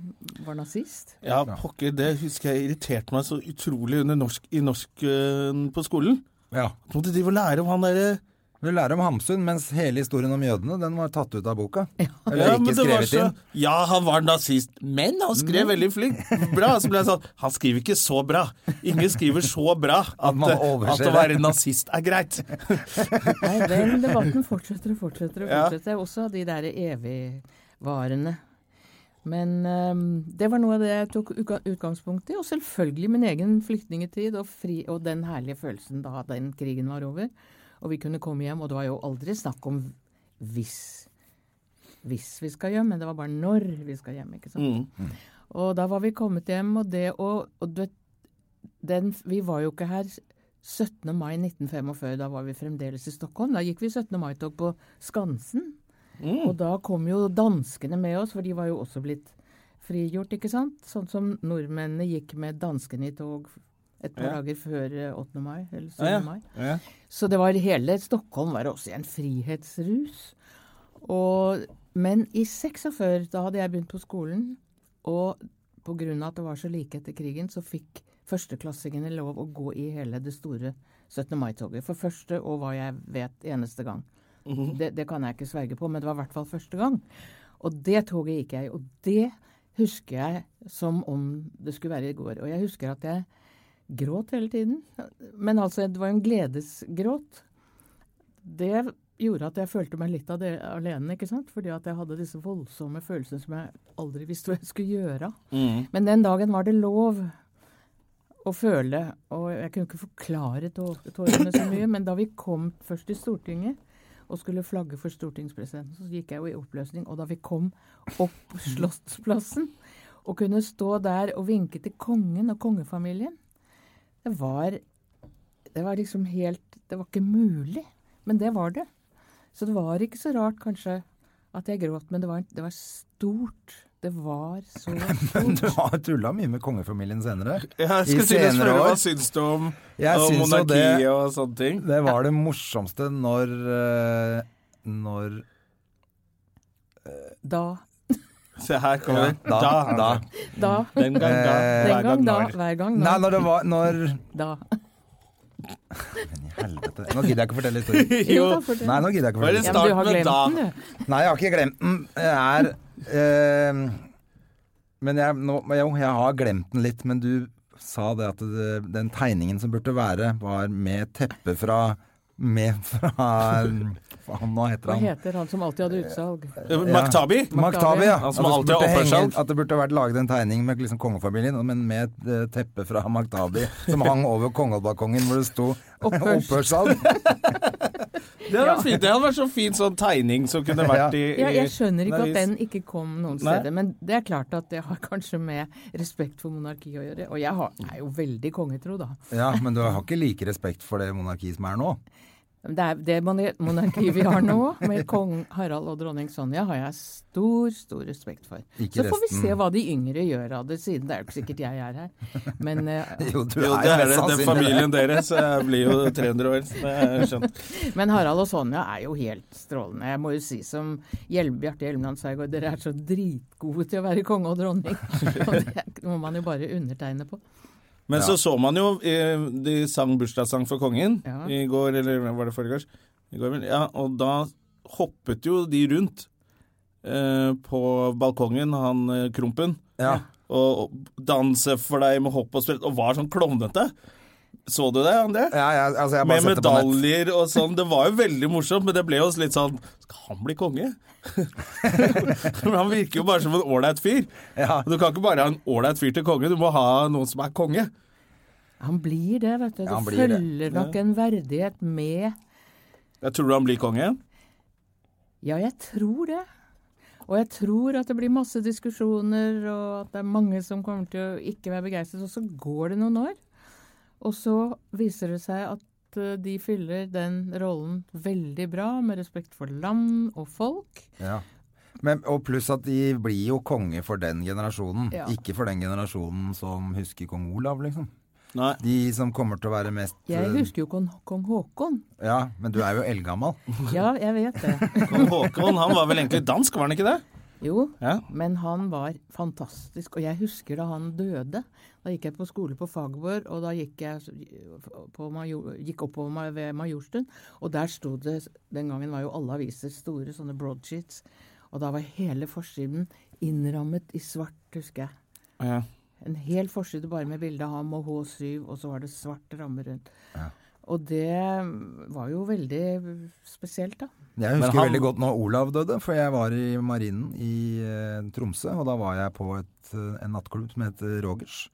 D: var nazist.
A: Ja, pokker, det husker jeg irriterte meg så utrolig under norsk, i norsk eh, på skolen.
B: Ja.
A: Så måtte de vel lære om han derre
B: Du lærer om Hamsun, mens hele historien om jødene den var tatt ut av boka. Eller
A: ja, men
B: ikke
A: det var
B: skrevet
A: så-
B: inn. Mm.
A: Ja, han var nazist, men han skrev veldig flink. Bra. Så ble jeg sånn Han skriver ikke så bra. Ingen skriver så bra at,
B: man
A: eh, at
B: overser
A: å være nazist er greit.
D: Nei, den debatten fortsetter og fortsetter og
A: Ja.
D: fortsetter. Også de der evigvarende. Men øhm, det var noe av det jeg tok uka- utgangspunkt i. Og selvfølgelig min egen flyktningetid og, fri, og den herlige følelsen da den krigen var over. Og vi kunne komme hjem, og det var jo aldri snakk om hvis. Hvis vi skal hjem, men det var bare når vi skal hjem. ikke sant? Og da var vi kommet hjem, og det å og du vet, den, Vi var jo ikke her 17. mai 1945, da var vi fremdeles i Stockholm. Da gikk vi 17. mai-tog på Skansen.
A: Mm.
D: Og da kom jo danskene med oss, for de var jo også blitt frigjort, ikke sant? Sånn som nordmennene gikk med danskene i tog et par dager før eh, 8. mai, eller 7.
A: Ja,
D: mai.
A: ja.
D: Så det var hele Stockholm var også i en frihetsrus. Og, men i 46, da hadde jeg begynt på skolen, og pga. at det var så like etter krigen, så fikk førsteklassingene lov å gå i hele det store 17. mai-toget. For første og hva jeg vet, eneste gang. det, det kan jeg ikke sverge på, men det var i hvert fall første gang. Og det toget gikk jeg i. Og det husker jeg som om det skulle være i går. Og jeg husker at jeg gråt hele tiden. Men altså, det var en gledesgråt. Det gjorde at jeg følte meg litt av det alene, ikke sant? Fordi at jeg hadde disse voldsomme følelsene som jeg aldri visste hva jeg skulle gjøre. Men den dagen var det lov å føle, og jeg kunne ikke forklare tå- tårene så mye, men da vi kom først til Stortinget og skulle flagge for stortingspresidenten, så gikk jeg jo i oppløsning. Og da vi kom opp Slottsplassen og kunne stå der og vinke til kongen og kongefamilien, det var, det var liksom helt Det var ikke mulig, men det var det. Så det var ikke så rart kanskje at jeg gråt, men det var, det var stort. Det var så stort.
B: Du har tulla mye med kongefamilien senere.
A: Jeg skulle til å spørre hva syns du om,
B: Jeg
A: om
B: syns jo
A: monarki
B: det-
A: og sånne ting?
B: Det var det morsomste når eh, Når
D: Da
A: Se, her kommer
B: Ja,
A: det.
B: da, da.
D: Da.
A: Den gang da.
B: Eh,
A: hver
D: Den gang, da.
A: når.
D: Hver gang,
B: Nei,
D: nå.
B: når det var Når
D: Da.
B: Men i helvete. Nå gidder jeg ikke å fortelle historien.
A: [LAUGHS] Jo,
D: [LAUGHS] da, for det-
B: Nei, nå gidder jeg ikke å
A: Var det
B: fortelle
D: ja, men du
A: Start
D: har
A: med
D: glemt
A: da.
D: den, du.
B: Nei, jeg har ikke glemt den. Jeg er eh, Men jeg, nå, jo, jeg har glemt den litt. Men du sa det at det, den tegningen som burde være, var med teppe fra Med fra Faen, hva heter
D: Hva
B: han?
D: heter han som alltid hadde utsalg?
A: eh, Maktabi?
B: Maktabi, ja.
A: Han som alltid har
B: At det Altså, burde henge-
A: oppførsel.
B: At det burde vært laget en tegning med liksom kongefamilien, men med et eh, teppe fra Maktabi som hang over kongebalkongen hvor det sto [LAUGHS]
D: Opphørs.
B: opphørssalg.
A: Det hadde vært fint. Det hadde vært så fin sånn tegning som
B: [LAUGHS]
A: kunne vært i, i
D: Ja, jeg skjønner ikke at
A: avis.
D: den ikke kom noen
A: Nei.
D: steder. Men det er klart at det har kanskje med respekt for monarki å gjøre. Og jeg har, er jo veldig kongetro, da.
B: Ja, men du har ikke like respekt for det monarkiet som er nå. [LAUGHS]
D: Men Det, er, det mon- monarkiet vi har nå, med kong Harald og dronning Sonja, har jeg stor, stor respekt for.
B: Ikke
D: Så får vi
B: resten.
D: se hva de yngre gjør av det, siden det er jo ikke sikkert jeg er her. Men eh,
B: Jo, du
A: Jo,
B: er
A: det
B: jo
A: er
B: mest
A: det. Det er
B: sannsynlig det.
A: familien deres. Jeg blir jo 300 år. Det er skjønt.
D: Men Harald og Sonja er jo helt strålende. Jeg må jo si som Hjelm, Bjarte Hjelmeland Sveigård, dere er så dritgode til å være konge
B: [LAUGHS]
D: og dronning. Og det må man jo bare undertegne på.
A: Men så så man jo eh, De sang bursdagssang for kongen
D: Ja.
A: i går, eller var det forrige gårs? I går, vel. Ja, og da hoppet jo de rundt eh, på balkongen, han eh, Krompen.
B: Ja.
A: Og og danse for deg med hopp og sprett, og var sånn klovnete. Så du det, André?
B: Ja, ja, altså jeg har bare
A: Med
B: sett det på nett.
A: medaljer og sånn. Det var jo veldig morsomt, men det ble jo også litt sånn Skal han bli konge? [LAUGHS] men han virker jo bare som en ålreit fyr.
B: Ja.
A: Du kan ikke bare ha en ålreit fyr til konge, du må ha noen som er konge.
D: Han blir det, vet du.
B: Ja, han
D: det
B: blir det.
D: følger nok en verdighet med
A: Jeg tror du han blir konge.
D: Ja, jeg tror det. Og jeg tror at det blir masse diskusjoner, og at det er mange som kommer til å ikke være begeistret. Og så går det noen år, og så viser det seg at eh, de fyller den rollen veldig bra, med respekt for land og folk.
B: Ja. Men, og pluss at de blir jo konge for den generasjonen,
D: Ja.
B: ikke for den generasjonen som husker kong Olav, liksom.
A: Nei.
B: De som kommer til å være mest
D: Jeg
B: eh,
D: husker jo kong, kong Haakon.
B: Ja, men du er jo eldgammel.
D: Ja, jeg vet det.
A: Kong Haakon han var vel egentlig dansk, var han ikke det?
D: Jo,
A: Ja.
D: men han var fantastisk. Og jeg husker da han døde. Da gikk jeg på skole på Fagerborg, og da gikk jeg så- på major, gikk oppover meg ved Majorstuen. Og der sto det Den gangen var jo alle aviser store, sånne broadsheets. Og da var hele forsiden innrammet i svart, husker jeg.
A: Ja.
D: En hel forside bare med bilde av ham og H7, og så var det svart ramme rundt. Og det mm, var jo veldig mm, spesielt, da.
B: Jeg husker
A: han-
B: veldig godt når Olav døde, for jeg var i marinen i eh, Tromsø. Og da var jeg på et, eh, en nattklubb som het Rogers.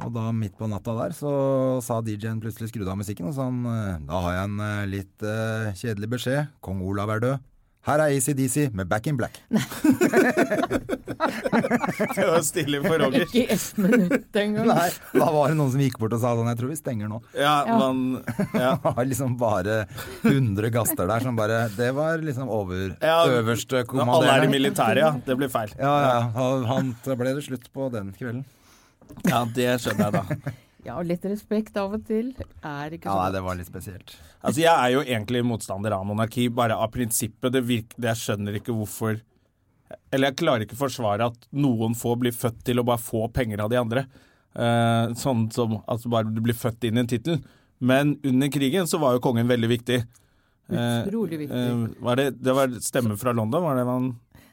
B: Og da midt på natta der så sa DJ-en plutselig skrudd av musikken, og sa han eh, da har jeg en eh, litt eh, kjedelig beskjed. Kong Olav er død. Her er ACDC med Back in Black.
A: Det var stille for Roger.
D: Ikke i ett minutt engang.
B: Nei, [LAUGHS] da var det noen som gikk bort og sa sånn, jeg tror vi stenger nå.
A: Ja,
D: Ja.
A: man, ja.
B: [LAUGHS] Det var liksom bare 100 gaster der som bare Det var liksom over
A: Ja, Når alle
B: øverste
A: er i
B: kommanderende.
A: militæret, ja. Det blir feil.
B: Ja, ja. han- Han, da ble det slutt på den kvelden.
A: Ja, det skjønner jeg, da.
D: Ja, og litt respekt av og til er ikke
B: Ja,
D: så
B: nei,
D: godt.
B: det var litt spesielt. [LAUGHS]
A: Altså, Jeg er jo egentlig motstander av monarki, bare av prinsippet. Det virk- det jeg skjønner ikke hvorfor Eller jeg klarer ikke å forsvare at noen få blir født til å bare få penger av de andre. Eh, sånn som at altså bare du blir født inn i en tittel. Men under krigen så var jo kongen veldig viktig. Eh,
D: Utrolig viktig.
A: eh, var det, det var stemme fra London, var det man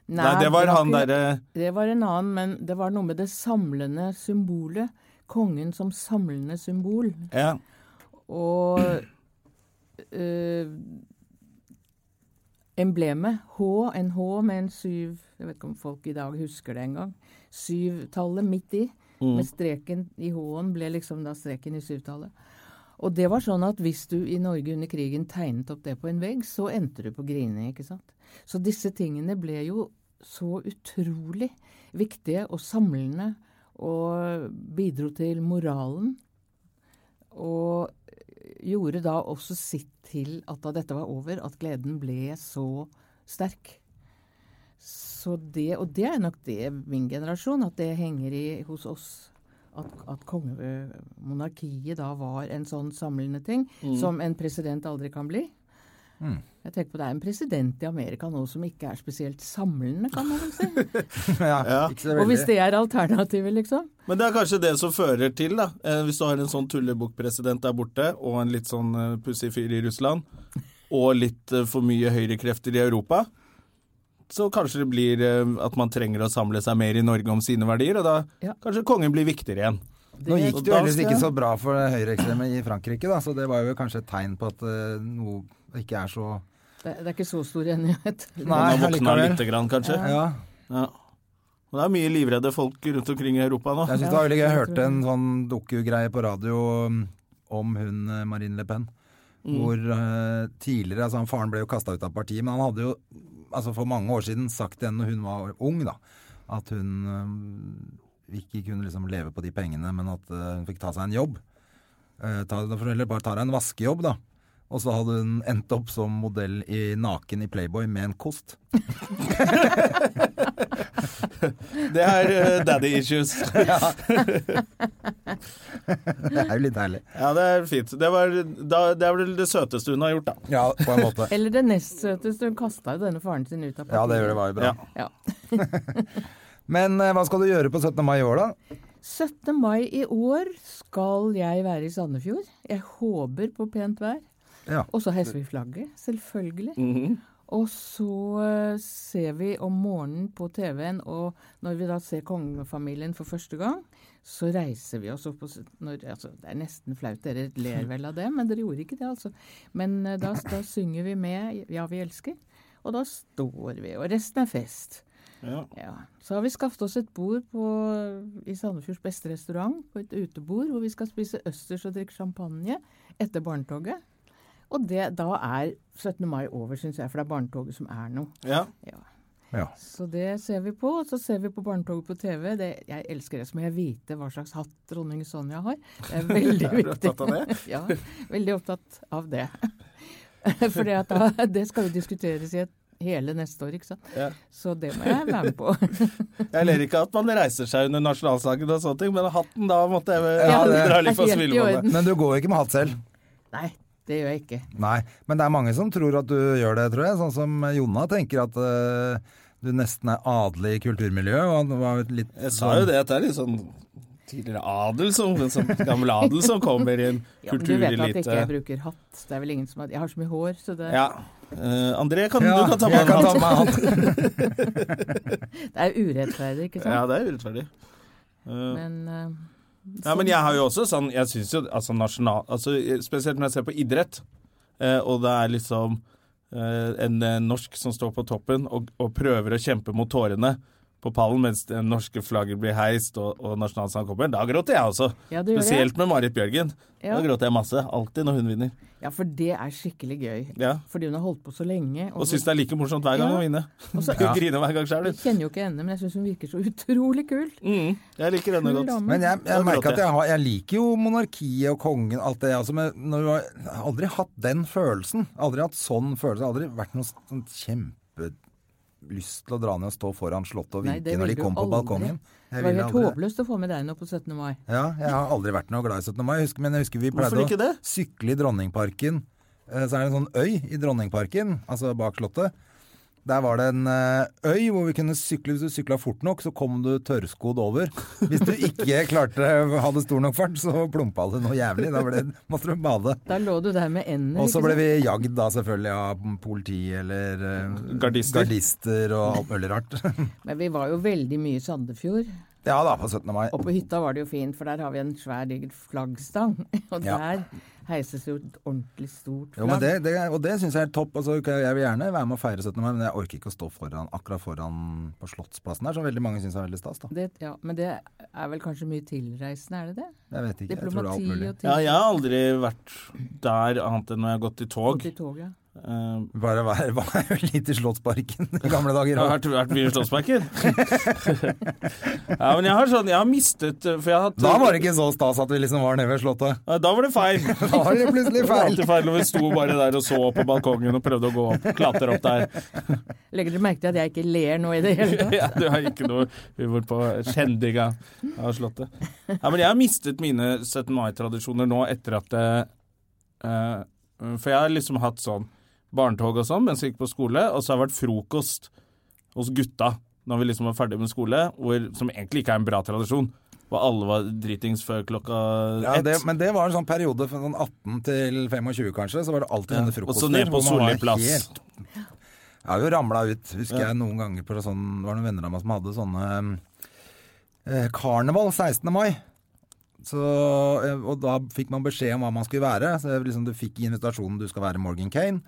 A: Nei,
D: Nei,
A: det var han
D: ikke-
A: derre
D: Det var en annen, men det var noe med det samlende symbolet. kongen som samlende symbol.
A: Ja.
D: Og eh, emblemet H, en H med en syv Jeg vet ikke om folk i dag husker det engang. Syvtallet midt i, med streken i H-en, ble liksom da streken i syvtallet. Og det var sånn at hvis du i Norge under krigen tegnet opp det på en vegg, så endte du på grining, ikke sant. Så disse tingene ble jo så utrolig viktige og samlende, og bidro til moralen. Og gjorde da også sitt til at da dette var over, at gleden ble så sterk. Så det, og det er nok det min generasjon, at det henger i hos oss. At, at kongemonarkiet da var en sånn samlende ting
B: Mm.
D: som en president aldri kan bli. Jeg tenker på Det er en president i Amerika nå som ikke er spesielt samlende, kan man vel si.
B: ja, Ikke så
D: Og hvis
B: veldig.
D: det er alternativet, liksom.
A: Men det er kanskje det som fører til, da. Eh, hvis du har en sånn tullebukkpresident der borte, og en litt sånn eh, pussig fyr i Russland, og litt eh, for mye høyrekrefter i Europa, så kanskje det blir eh, at man trenger å samle seg mer i Norge om sine verdier, og da
D: Ja.
A: kanskje kongen blir viktigere igjen.
B: Nå gikk det jo
A: Da
B: ellers
A: skal
B: ikke
A: jeg-
B: så bra for høyreekstreme i Frankrike, da, så det var jo kanskje et tegn på at eh, noe ikke er så
D: Det, det er ikke så stor enighet.
B: Nei,
A: Man har våkna
B: allikevel.
A: lite grann, kanskje.
B: Ja.
A: Ja. Og Det er mye livredde folk rundt omkring i Europa nå.
B: Jeg syns
D: Ja,
B: det var veldig gøy. Jeg
D: jeg tror
B: hørte en sånn dokugreie på radio um, om hun eh, Marine Le Pen. Hvor eh, tidligere altså han Faren ble jo kasta ut av partiet, men han hadde jo altså for mange år siden sagt til henne når hun var ung, da, at hun eh, ikke kunne liksom leve på de pengene, men at eh, hun fikk ta seg en jobb. Eh, ta, eller bare ta deg en vaskejobb, da. Og så hadde hun endt opp som modell i naken i Playboy med en kost. [LAUGHS]
A: Det er
B: [LAUGHS]
A: eh, daddy issues.
B: Det er jo litt deilig.
A: Ja, det er fint. Det, var, da, det er vel det søteste hun har gjort, da.
B: Ja, på en
D: [LAUGHS]
B: måte.
D: Eller det nest søteste. Hun kasta jo denne faren sin ut av partiet.
B: Ja, det gjør det var jo bra.
A: Ja.
D: Ja.
B: Men eh, hva skal du gjøre på 17. mai i år, da?
D: 17. mai i år skal jeg være i Sandefjord. Jeg håper på pent vær.
B: Ja.
D: Og så heiser vi flagget, selvfølgelig. Og så eh, ser vi om morgenen på TV-en, og når vi da ser kongefamilien for første gang, så reiser vi oss opp og s- når, altså, Det er nesten flaut, dere ler vel av det, men dere gjorde ikke det, altså. Men eh, da, da synger vi med 'Ja, vi elsker', og da står vi, og resten er fest.
A: Ja.
D: Ja. Så har vi skaffet oss et bord på, i Sandefjords beste restaurant, på et utebord, hvor vi skal spise østers og drikke champagne etter barnetoget. Og det, da er 17. mai over, syns jeg, for det er barnetoget som er noe.
A: Ja.
D: Ja.
B: Ja.
D: Så det ser vi på. Og så ser vi på barnetoget på TV. Det, jeg elsker det. Så må jeg vite hva slags hatt dronning Sonja har.
A: [LAUGHS]
D: Det er veldig
A: Er du
D: viktig.
A: opptatt av det?
D: [LAUGHS] ja, veldig opptatt av det. [LAUGHS] For det skal jo diskuteres i et, hele neste år, ikke sant.
A: Ja.
D: Så det må jeg være med på.
A: Jeg ler ikke at man reiser seg under nasjonalsangen og sånne ting, men hatten da måtte jeg
B: Ja, det
A: dra litt for
D: er helt i
A: svilemålet.
D: orden.
B: Men du går jo ikke med hatt selv.
D: Nei, det gjør jeg ikke.
B: Nei, men det er mange som tror at du gjør det, tror jeg. Sånn som Jonna tenker at eh, du nesten er adelig i kulturmiljøet. Og han var litt
A: Jeg sa jo det, at det er litt sånn tidligere adel som, en sånn gammel adel som kommer i en
D: [LAUGHS] Ja, men du vet at jeg ikke
A: kulturelite.
D: bruker hatt. Det er vel ingen som har Jeg har så mye hår, så det,
A: Ja. Eh, André, kan,
B: Ja,
A: du kan ta
B: jeg
A: med en
B: kan ta
A: hatt.
B: meg hatt.
D: det er urettferdig, ikke
A: Ja,
D: sant?
A: det er urettferdig. Eh,
D: Men eh,
A: Ja, men jeg har jo også sånn Jeg synes jo altså nasjonal altså, Spesielt når jeg ser på idrett, eh, og det er liksom eh, en eh, norsk som står på toppen og, og prøver å kjempe mot tårene på pallen mens det norske flagget blir heist og, og nasjonalsangen kommer, da gråter jeg også.
D: Ja, du gjør det.
A: Spesielt med Marit Bjørgen.
D: Ja.
A: Da gråter jeg masse. Alltid når hun vinner.
D: ja, for det er skikkelig gøy.
A: Ja.
D: Fordi hun har holdt på så lenge.
A: Og syns det er like morsomt hver gang
D: Ja.
A: hun vinner.
D: Og
A: [LAUGHS]
D: så-
A: Hun griner hver gang sjøl.
D: Jeg kjenner jo ikke henne, men jeg syns hun virker så utrolig kul.
A: Mm, jeg liker henne
D: Kul
A: godt.
D: dame.
B: Men
A: [LAUGHS]
B: jeg,
A: Da
B: jeg merker
A: gråter
B: at jeg, har, jeg liker jo monarkiet og kongen, alt det. Altså, men når du har, jeg har aldri hatt den følelsen. Aldri hatt sånn følelse. Aldri vært noe sånn kjempelyst til å dra ned og stå foran Slottet og
D: Nei, det
B: vinke når
D: ville
B: de
D: du
B: kom på
D: aldri.
B: balkongen. Jeg
D: Det var
B: ville
D: helt
B: aldri
D: håpløst å få med deg nå på 17. mai.
B: Ja, jeg har aldri vært noe glad i 17. mai, jeg husker, men jeg husker vi
A: Hvorfor
B: pleide
A: ikke
B: å
A: det?
B: sykle i Dronningparken. Eh, Så er det en sånn øy i Dronningparken, altså bak Slottet. Der var det en eh, øy hvor vi kunne sykle. Hvis du sykla fort nok, så kom du tørrskodd over. Hvis du
A: [LAUGHS]
B: ikke klarte hadde stor nok fart, så plumpa det noe jævlig. Da ble, måtte du bade.
D: Da lå du der med ender.
B: Og så
D: ikke
B: ble
D: sant?
B: vi jagd da selvfølgelig av politi eller eh,
A: Gardister.
B: gardister og alt mulig rart. [LAUGHS]
D: Men vi var jo veldig mye i Sandefjord.
B: Ja da, på 17. mai.
D: Og på hytta var det jo fint, for der har vi en svær diger flaggstang. [LAUGHS] Og
B: Ja.
D: der heises jo et ordentlig stort
B: Jo, men
D: flagg.
B: det, det, og det syns jeg er topp. Altså, ok, jeg vil gjerne være med og feire 17. mai, men jeg orker ikke å stå foran, akkurat foran på Slottsplassen der, som veldig mange syns er veldig stas. da.
D: Det- ja, men det er vel kanskje mye tilreisende, er det det?
B: Jeg vet ikke, jeg tror det er alt
D: Diplomati
B: mulig.
D: og
A: Ja,
D: til,
A: jeg har aldri vært der annet enn når jeg har gått i tog.
D: til toget.
A: Eh,
B: Bare [LAUGHS] vær, vær litt i Slottsparken i gamle
A: [LAUGHS]
B: dager.
A: Jeg har
B: og-
A: vært, vært mye i Slottsparken. ja, men jeg har sånn Jeg har mistet eh, For jeg har hatt
B: Da var det ikke så stas at vi liksom var nede ved Slottet.
A: Ja, [LAUGHS] Da var det feil.
B: [LAUGHS] Da var det plutselig
A: Det var
B: feil.
A: alltid feil når vi sto bare der og så på balkongen og prøvde å gå opp, klatre opp der.
D: Legger dere merke til at jeg ikke ler nå i det hele
B: [LAUGHS]
D: tatt?
A: [LAUGHS] Ja, du har ikke noe humor på skjendinga av Slottet. Ja, men jeg har mistet mine 17. mai-tradisjoner nå etter at eh, eh, For jeg har liksom hatt sånn barnetog og sånn mens jeg gikk på skole, og så har det vært frokost hos gutta når vi liksom var ferdig med skole, hvor, som egentlig ikke er en bra tradisjon, hvor alle var dritings før klokka
B: Ja,
A: ett.
B: det, men det var en sånn periode fra sånn 18 til 25, kanskje. Så var det alltid sånne
A: og
B: frokoster.
A: så ned på
B: hvor man var
A: Solli plass.
B: helt- Jeg har jo ramla ut, husker jeg noen ganger på sånn Det var noen venner av meg som hadde sånne eh, Karneval 16. mai. Så, eh, og da fikk man beskjed om hva man skulle være. Så jeg liksom, Du fikk i invitasjonen du skal være Morgan Kane.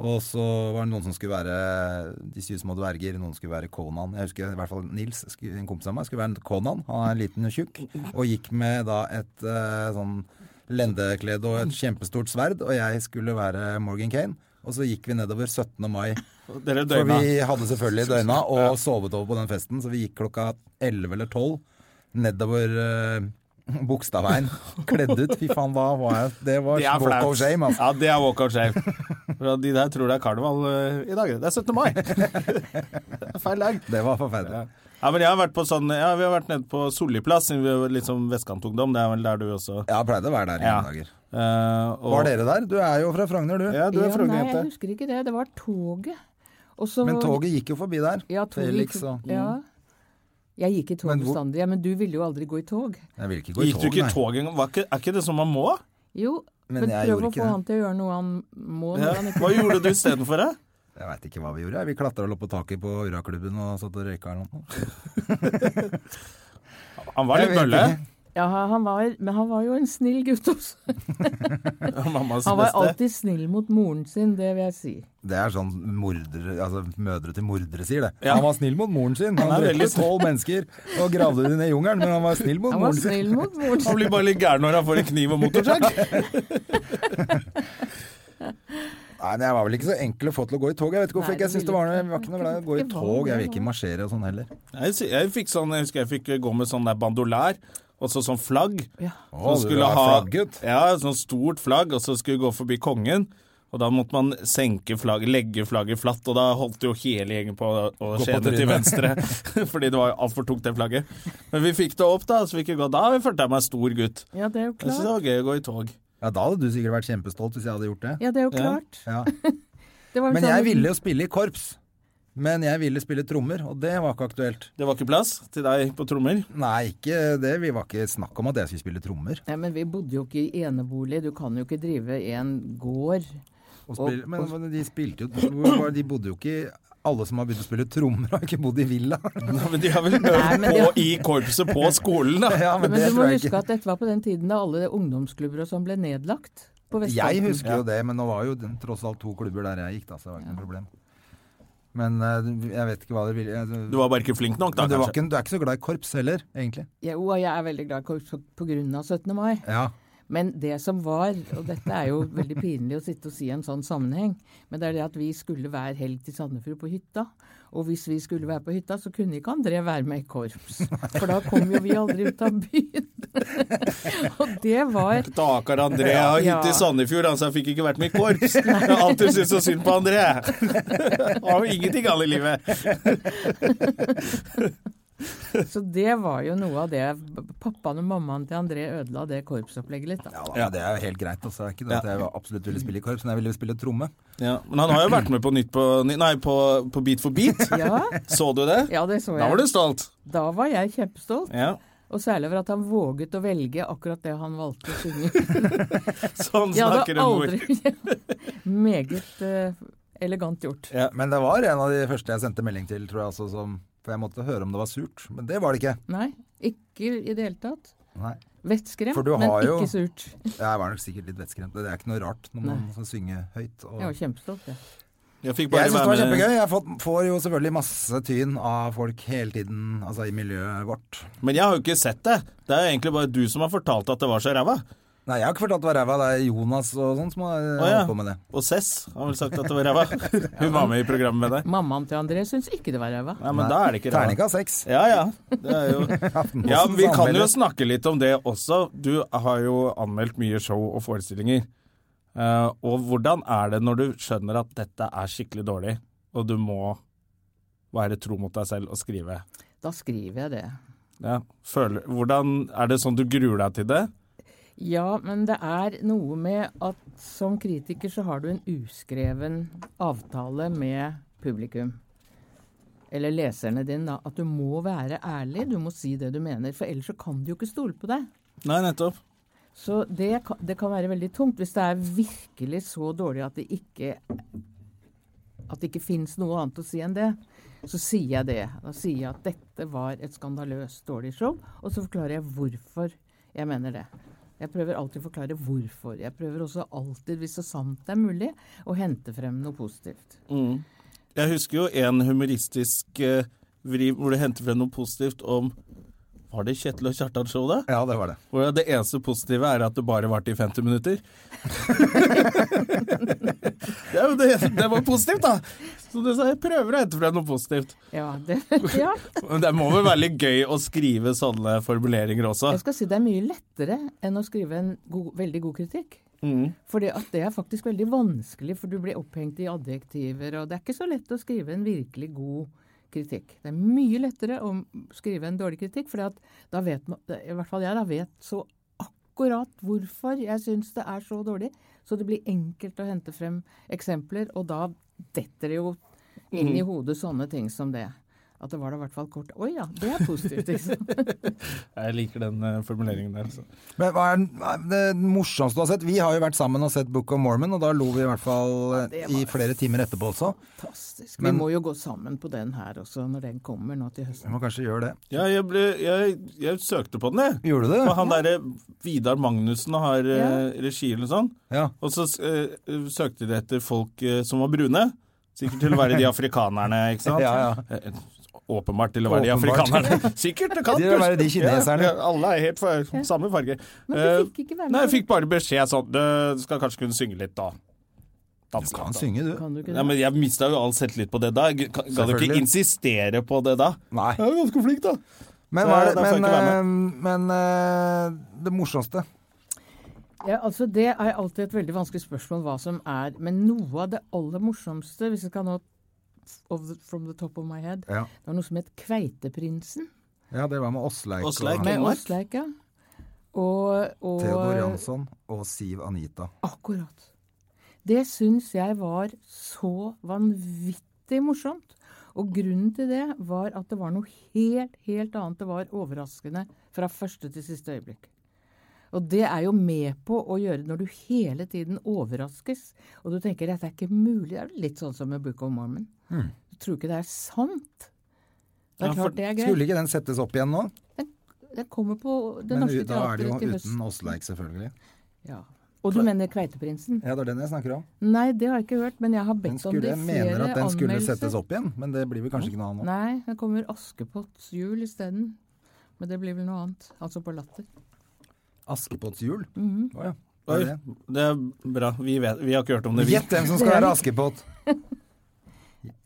B: Og så var det noen som skulle være De syv små dverger, noen skulle være Conan. Jeg husker i hvert fall Nils, skulle- en kompis av meg, skulle være Conan. Han er liten og tjukk. Og gikk med da et eh, sånn lendeklede og et kjempestort sverd. Og jeg skulle være Morgan Kane. Og så gikk vi nedover 17. mai.
A: Dere
B: For
A: døgna.
B: vi hadde selvfølgelig døgna og sovet over på den festen, så vi gikk klokka 11 eller 12 nedover uh,
A: [LAUGHS]
B: Bogstadveien, kledd ut. Fy faen, da var jeg Det var
A: Det er
B: walk of
A: flaut.
B: shame, altså.
A: Ja, det er walk of shame. For de der tror det er karneval eh, i dag. Det er 17. mai. Det er feil dag.
B: Det var forferdelig.
A: Ja, men jeg har vært på sånn Ja, vi har vært nede på Solliplass, siden vi er litt sånn vestkantungdom. Det er vel der du også
B: Ja, jeg pleide å være der i
A: Ja.
B: gamle dager.
A: eh, og,
B: Var dere der? Du er jo fra Frogner, du.
A: Ja, du er
D: Ja, nei, jeg
A: Frogner-jente.
D: husker ikke det. Det var toget. Og så-
B: Men toget gikk jo forbi der.
D: ja, toget
B: Felix
D: gikk-
B: og
D: ja. Jeg gikk i tog
B: Men hvor-
D: bestandig, ja, men du ville jo aldri gå i tog.
B: Jeg ville ikke gå i
A: Gikk du
B: tog,
A: ikke i
B: nei.
A: tog engang? Var ikke- Er ikke det som man må?
D: Jo,
B: Men
D: men,
B: jeg
D: prøv
B: gjorde
D: å
B: ikke
D: få
B: det.
D: han til å gjøre noe han må når
A: Ja.
D: han
A: Hva gjorde du istedenfor det?
B: Jeg veit ikke hva vi gjorde. jeg. Vi klatra vel opp på taket på Uraklubben og satt og røyka eller noe.
A: Han var litt
B: Jeg vet
A: bølle.
D: Ja, han var, men han var jo en snill
B: [LAUGHS]
D: gutt også.
A: [LAUGHS] Mammas
D: Han
A: beste.
D: var alltid snill mot moren sin, det vil jeg si.
B: Det er sånn mordere, altså mødre til mordere sier det.
A: Ja.
B: Han var snill mot moren sin. Han
A: Han er
B: drepte
A: veldig snill.
B: tolv mennesker og gravde dem ned i jungelen, men han var snill mot
D: Han var
B: moren sin.
D: snill mot
B: [LAUGHS]
D: moren
A: Han
D: sin.
A: blir bare litt gæren når han får en kniv og motorsag.
B: Nei, men Jeg var vel ikke så enkel å få til å gå i tog. Jeg vet ikke hvorfor
D: Nei,
B: ikke. Jeg
D: det
B: synes det var, noe-
D: ville
B: jeg var ikke noe glad i å gå i
D: ikke
B: tog. Jeg
D: være
B: vil ikke marsjere og sånn heller.
A: Jeg, sy- jeg, fikk sånn, jeg husker jeg fikk gå med sånn der bandolær, og så sånn flagg.
D: Ja.
B: Å,
A: Som
B: du
A: skulle
B: er
A: ha
B: flagggutt.
A: Ja, sånn stort flagg, og så skulle vi gå forbi kongen. Og da måtte man senke flagget, legge flagget flatt, og da holdt jo hele gjengen på å- å
B: Gå på
A: skjene til venstre. [LAUGHS] fordi det var altfor tungt, det flagget. Men vi fikk det opp, da, så vi kunne gå. Da følte jeg meg stor gutt.
D: ja, det er jo
A: Jeg syns det
D: klart.
A: var gøy å gå i tog.
B: Ja, Da hadde du sikkert vært kjempestolt hvis jeg hadde gjort det.
D: Ja, det er jo klart.
B: Ja.
D: Det var jo
B: Men
D: sånn
B: jeg
D: at-
B: ville jo spille i korps. Men jeg ville spille trommer, og det var ikke aktuelt.
A: Det var ikke plass til deg på trommer. [LAUGHS]
B: Nei, ikke det. Vi var ikke snakk om at jeg skulle spille trommer.
D: Nei, men vi bodde jo ikke i enebolig. Du kan jo ikke drive en gård.
B: Og spille, men men de spilte jo hvor var- De bodde jo ikke i- Alle som har begynt å spille trommer, har ikke bodd i villa.
A: Nei, Men de har vel
D: Nei,
A: øvd
D: men
A: på
D: det-
A: i korpset på skolen, da.
B: [LAUGHS] Ja,
D: Men,
B: det
D: du
B: tror
D: må
B: jeg
D: huske
B: ikke.
D: at dette var på den tiden da alle ungdomsklubber og sånn ble nedlagt på Vestkanten.
B: Jeg husker jo det, men nå var jo den- tross alt to klubber der jeg gikk, da, så det var ikke noe problem. Men eh, jeg vet ikke hva dere ville jeg, altså,
A: Du var bare ikke flink nok, da,
B: Men du, var
A: kanskje.
B: ikke, du er ikke så glad i korps heller, egentlig.
D: Jo, og jeg er veldig glad i korps på grunn av 17. mai.
B: Ja.
D: Men det som var, og dette er jo veldig pinlig å sitte og si i en sånn sammenheng, men det er det at vi skulle hver helg til Sandefjord på hytta. Og hvis vi skulle være på hytta, så kunne ikke André være med i korps. For da kom jo vi aldri ut av byen. [LAUGHS] og det var
A: Stakkar André har
D: Ja.
A: hytte i Sandefjord, altså jeg fikk ikke vært med i
D: [LAUGHS]
A: korps. Jeg har alltid syntes så synd på André. [LAUGHS] Han har jo ingenting galt i livet.
D: Så det var jo noe av det Pappaen og mammaen til André ødela det korpsopplegget litt, da.
B: ja da, men det er jo helt greit. Altså. Det er ikke det at jeg absolutt ville spille i korps, men jeg ville spille tromme.
A: Ja, men han har jo vært med på Nytt på Ny- Nei, på, på Beat for beat.
D: Ja,
A: Så du det?
D: ja det så jeg.
A: Da var du stolt.
D: Da var jeg kjempestolt.
A: Ja.
D: Og særlig over at han våget å velge akkurat det han valgte å
B: [LAUGHS]
D: synge.
A: Sånn
D: Jeg
A: snakker en
D: hadde
A: mor.
D: aldri [LAUGHS] Meget eh, elegant gjort.
B: Men det var en av de første jeg sendte melding til, tror jeg, altså, som For jeg måtte høre om det var surt, men det var det ikke.
D: Nei, ikke i det hele tatt.
B: Nei. For
D: Vettskremt,
B: du
D: men
B: har jo-
D: ikke surt.
B: Jeg var nok sikkert litt vettskremt. Det er ikke noe rart når man skal synge høyt. Og...
D: Jeg var kjempestolt, jeg.
A: Jeg fikk bare
B: Jeg syns det var
A: være med-
B: kjempegøy. Jeg får, får jo selvfølgelig masse tyn av folk hele tiden, altså i miljøet vårt.
A: Men jeg har jo ikke sett det. Det er egentlig bare du som har fortalt at det var så ræva.
B: Nei, jeg har ikke fortalt hva ræva det er Jonas og sånn som har
A: Å, ja.
B: holdt på med det.
A: Og Cess har vel sagt at det var ræva. Hun var med i programmet med deg.
D: Mammaen til André syns ikke det var ræva.
A: Nei, men da er det ikke ræva.
B: Terninga seks.
A: Ja, ja. Det er jo... [LAUGHS] ja, men vi kan jo snakke litt om det også. Du har jo anmeldt mye show og forestillinger. Eh, og hvordan er det når du skjønner at dette er skikkelig dårlig, og du må være tro mot deg selv og skrive?
D: Da skriver jeg det.
A: Ja. Føler, hvordan, er det sånn du gruer deg til det?
D: Ja, men det er noe med at som kritiker så har du en uskreven avtale med publikum. Eller leserne dine, da. At du må være ærlig, du må si det du mener. For ellers så kan de jo ikke stole på deg.
A: Nei, nettopp.
D: Så det kan, det kan være veldig tungt hvis det er virkelig så dårlig at det ikke at det ikke fins noe annet å si enn det. Så sier jeg det. Da sier jeg at dette var et skandaløst dårlig show, og så forklarer jeg hvorfor jeg mener det. Jeg prøver alltid å forklare hvorfor. Jeg prøver også alltid, hvis så sant det er mulig, å hente frem noe positivt.
A: Jeg husker jo en humoristisk eh, vri hvor du henter frem noe positivt om Var det Kjetil og Kjartan-show, da?
B: Ja, det var det.
A: Hvor det eneste positive er at det bare varte i 50 minutter. det, er jo det, det var positivt, da! Så du sa jeg prøver å hente frem noe positivt.
D: Ja, det, [LAUGHS] ja.
A: Men det må vel være litt gøy å skrive sånne formuleringer også?
D: Jeg skal si det er mye lettere enn å skrive en god, veldig god kritikk.
A: Mm.
D: For det er faktisk veldig vanskelig, for du blir opphengt i adjektiver, og det er ikke så lett å skrive en virkelig god kritikk. Det er mye lettere å skrive en dårlig kritikk, for da vet man, i hvert fall jeg, da vet så akkurat hvorfor jeg syns det er så dårlig. Så det blir enkelt å hente frem eksempler, og da detter det jo inn
A: Mhm.
D: i hodet sånne ting som det. At det var da i hvert fall kort Oi ja, det er positivt, liksom.
A: [LAUGHS] Jeg liker den eh, formuleringen der. Så.
B: Men hva er den- hva er det morsomste du har sett? Vi har jo vært sammen og sett Book of Mormon, og da lo vi i hvert fall eh, i flere timer etterpå også.
D: Fantastisk. Vi må jo gå sammen på den her også, når den kommer nå til
B: Vi
D: høsten.
B: må kanskje gjøre det.
A: Ja, jeg, ble, jeg, jeg søkte på den, jeg.
B: Gjorde du
A: For
B: det?
A: han derre Vidar Magnussen har ja. regi eller sånn.
B: Ja.
A: Og så eh, søkte de etter folk eh, som var brune. Sikkert til å
B: [LAUGHS]
A: være de afrikanerne, ikke sant?
B: Ja, ja.
A: Eh, Åpenbart til å være
B: Åpenbart.
A: de
B: [LAUGHS]
A: afrikanerne. Sikkert, det kan
B: De vil være de
A: Ja,
B: kineserne.
A: Ja, alle er helt fra samme farge.
D: Men du fikk ikke være med.
A: Eh, Nei, jeg fikk bare beskjed sånn Du skal kanskje kunne synge litt, da. Danse
B: Kan
A: litt, da.
B: synge, du.
D: Kan du ikke
A: Nei,
D: det?
A: men jeg mista jo all selvtillit på det da. Jeg ga- Ga du ikke
B: Selvfølgelig.
A: insistere på det da?
B: Nei.
A: Jeg er jo ganske flink, da.
B: Men,
A: Så
B: hva er det,
A: da får jeg
B: men,
A: ikke være
B: eh, men eh, det morsomste
D: Ja, altså Det er alltid et veldig vanskelig spørsmål hva som er. Men noe av det aller morsomste, hvis jeg kan nå of the, from the top of my head,
B: Ja,
D: det var noe som het Kveiteprinsen
B: ja det var med Åsleik og
A: Åsleik.
D: med
A: Finnmark?
D: Åsleika. Og, og
B: Theodor Jansson og Siv Anita.
D: Akkurat. Det syns jeg var så vanvittig morsomt. Og grunnen til det var at det var noe helt, helt annet. Det var overraskende fra første til siste øyeblikk. Og det er jo med på å gjøre når du hele tiden overraskes, og du tenker dette er ikke mulig. Det er jo litt sånn som med Book of Mormon.
B: Hmm.
D: Du tror ikke det er sant. Det
A: Ja,
D: er
A: for
D: klart det er gøy.
B: Skulle ikke den settes opp igjen nå?
D: Det kommer på Det
B: Men
D: Norske
B: da er det jo
D: Teatret til høsten.
B: uten Åsleik, selvfølgelig.
D: Ja. Og du mener Kveiteprinsen?
B: Ja, det er den jeg snakker om.
D: Nei, det har jeg ikke hørt, men jeg har
B: Den
D: bedt om
B: skulle,
D: det i
B: jeg
D: flere
B: mener at den skulle
D: anmeldelser.
B: settes opp igjen, men det blir vel kanskje ikke noe annet nå.
D: Nei, det kommer Askepotts jul isteden. Men det blir vel noe annet. Altså på latter.
B: Askepotts jul?
D: Mhm.
B: Å ja. Hva
A: Oi,
B: er det?
A: det er bra. Vi, vet, vi har ikke hørt om det, vi.
B: Gjett hvem som skal være
D: [LAUGHS]
B: Askepott!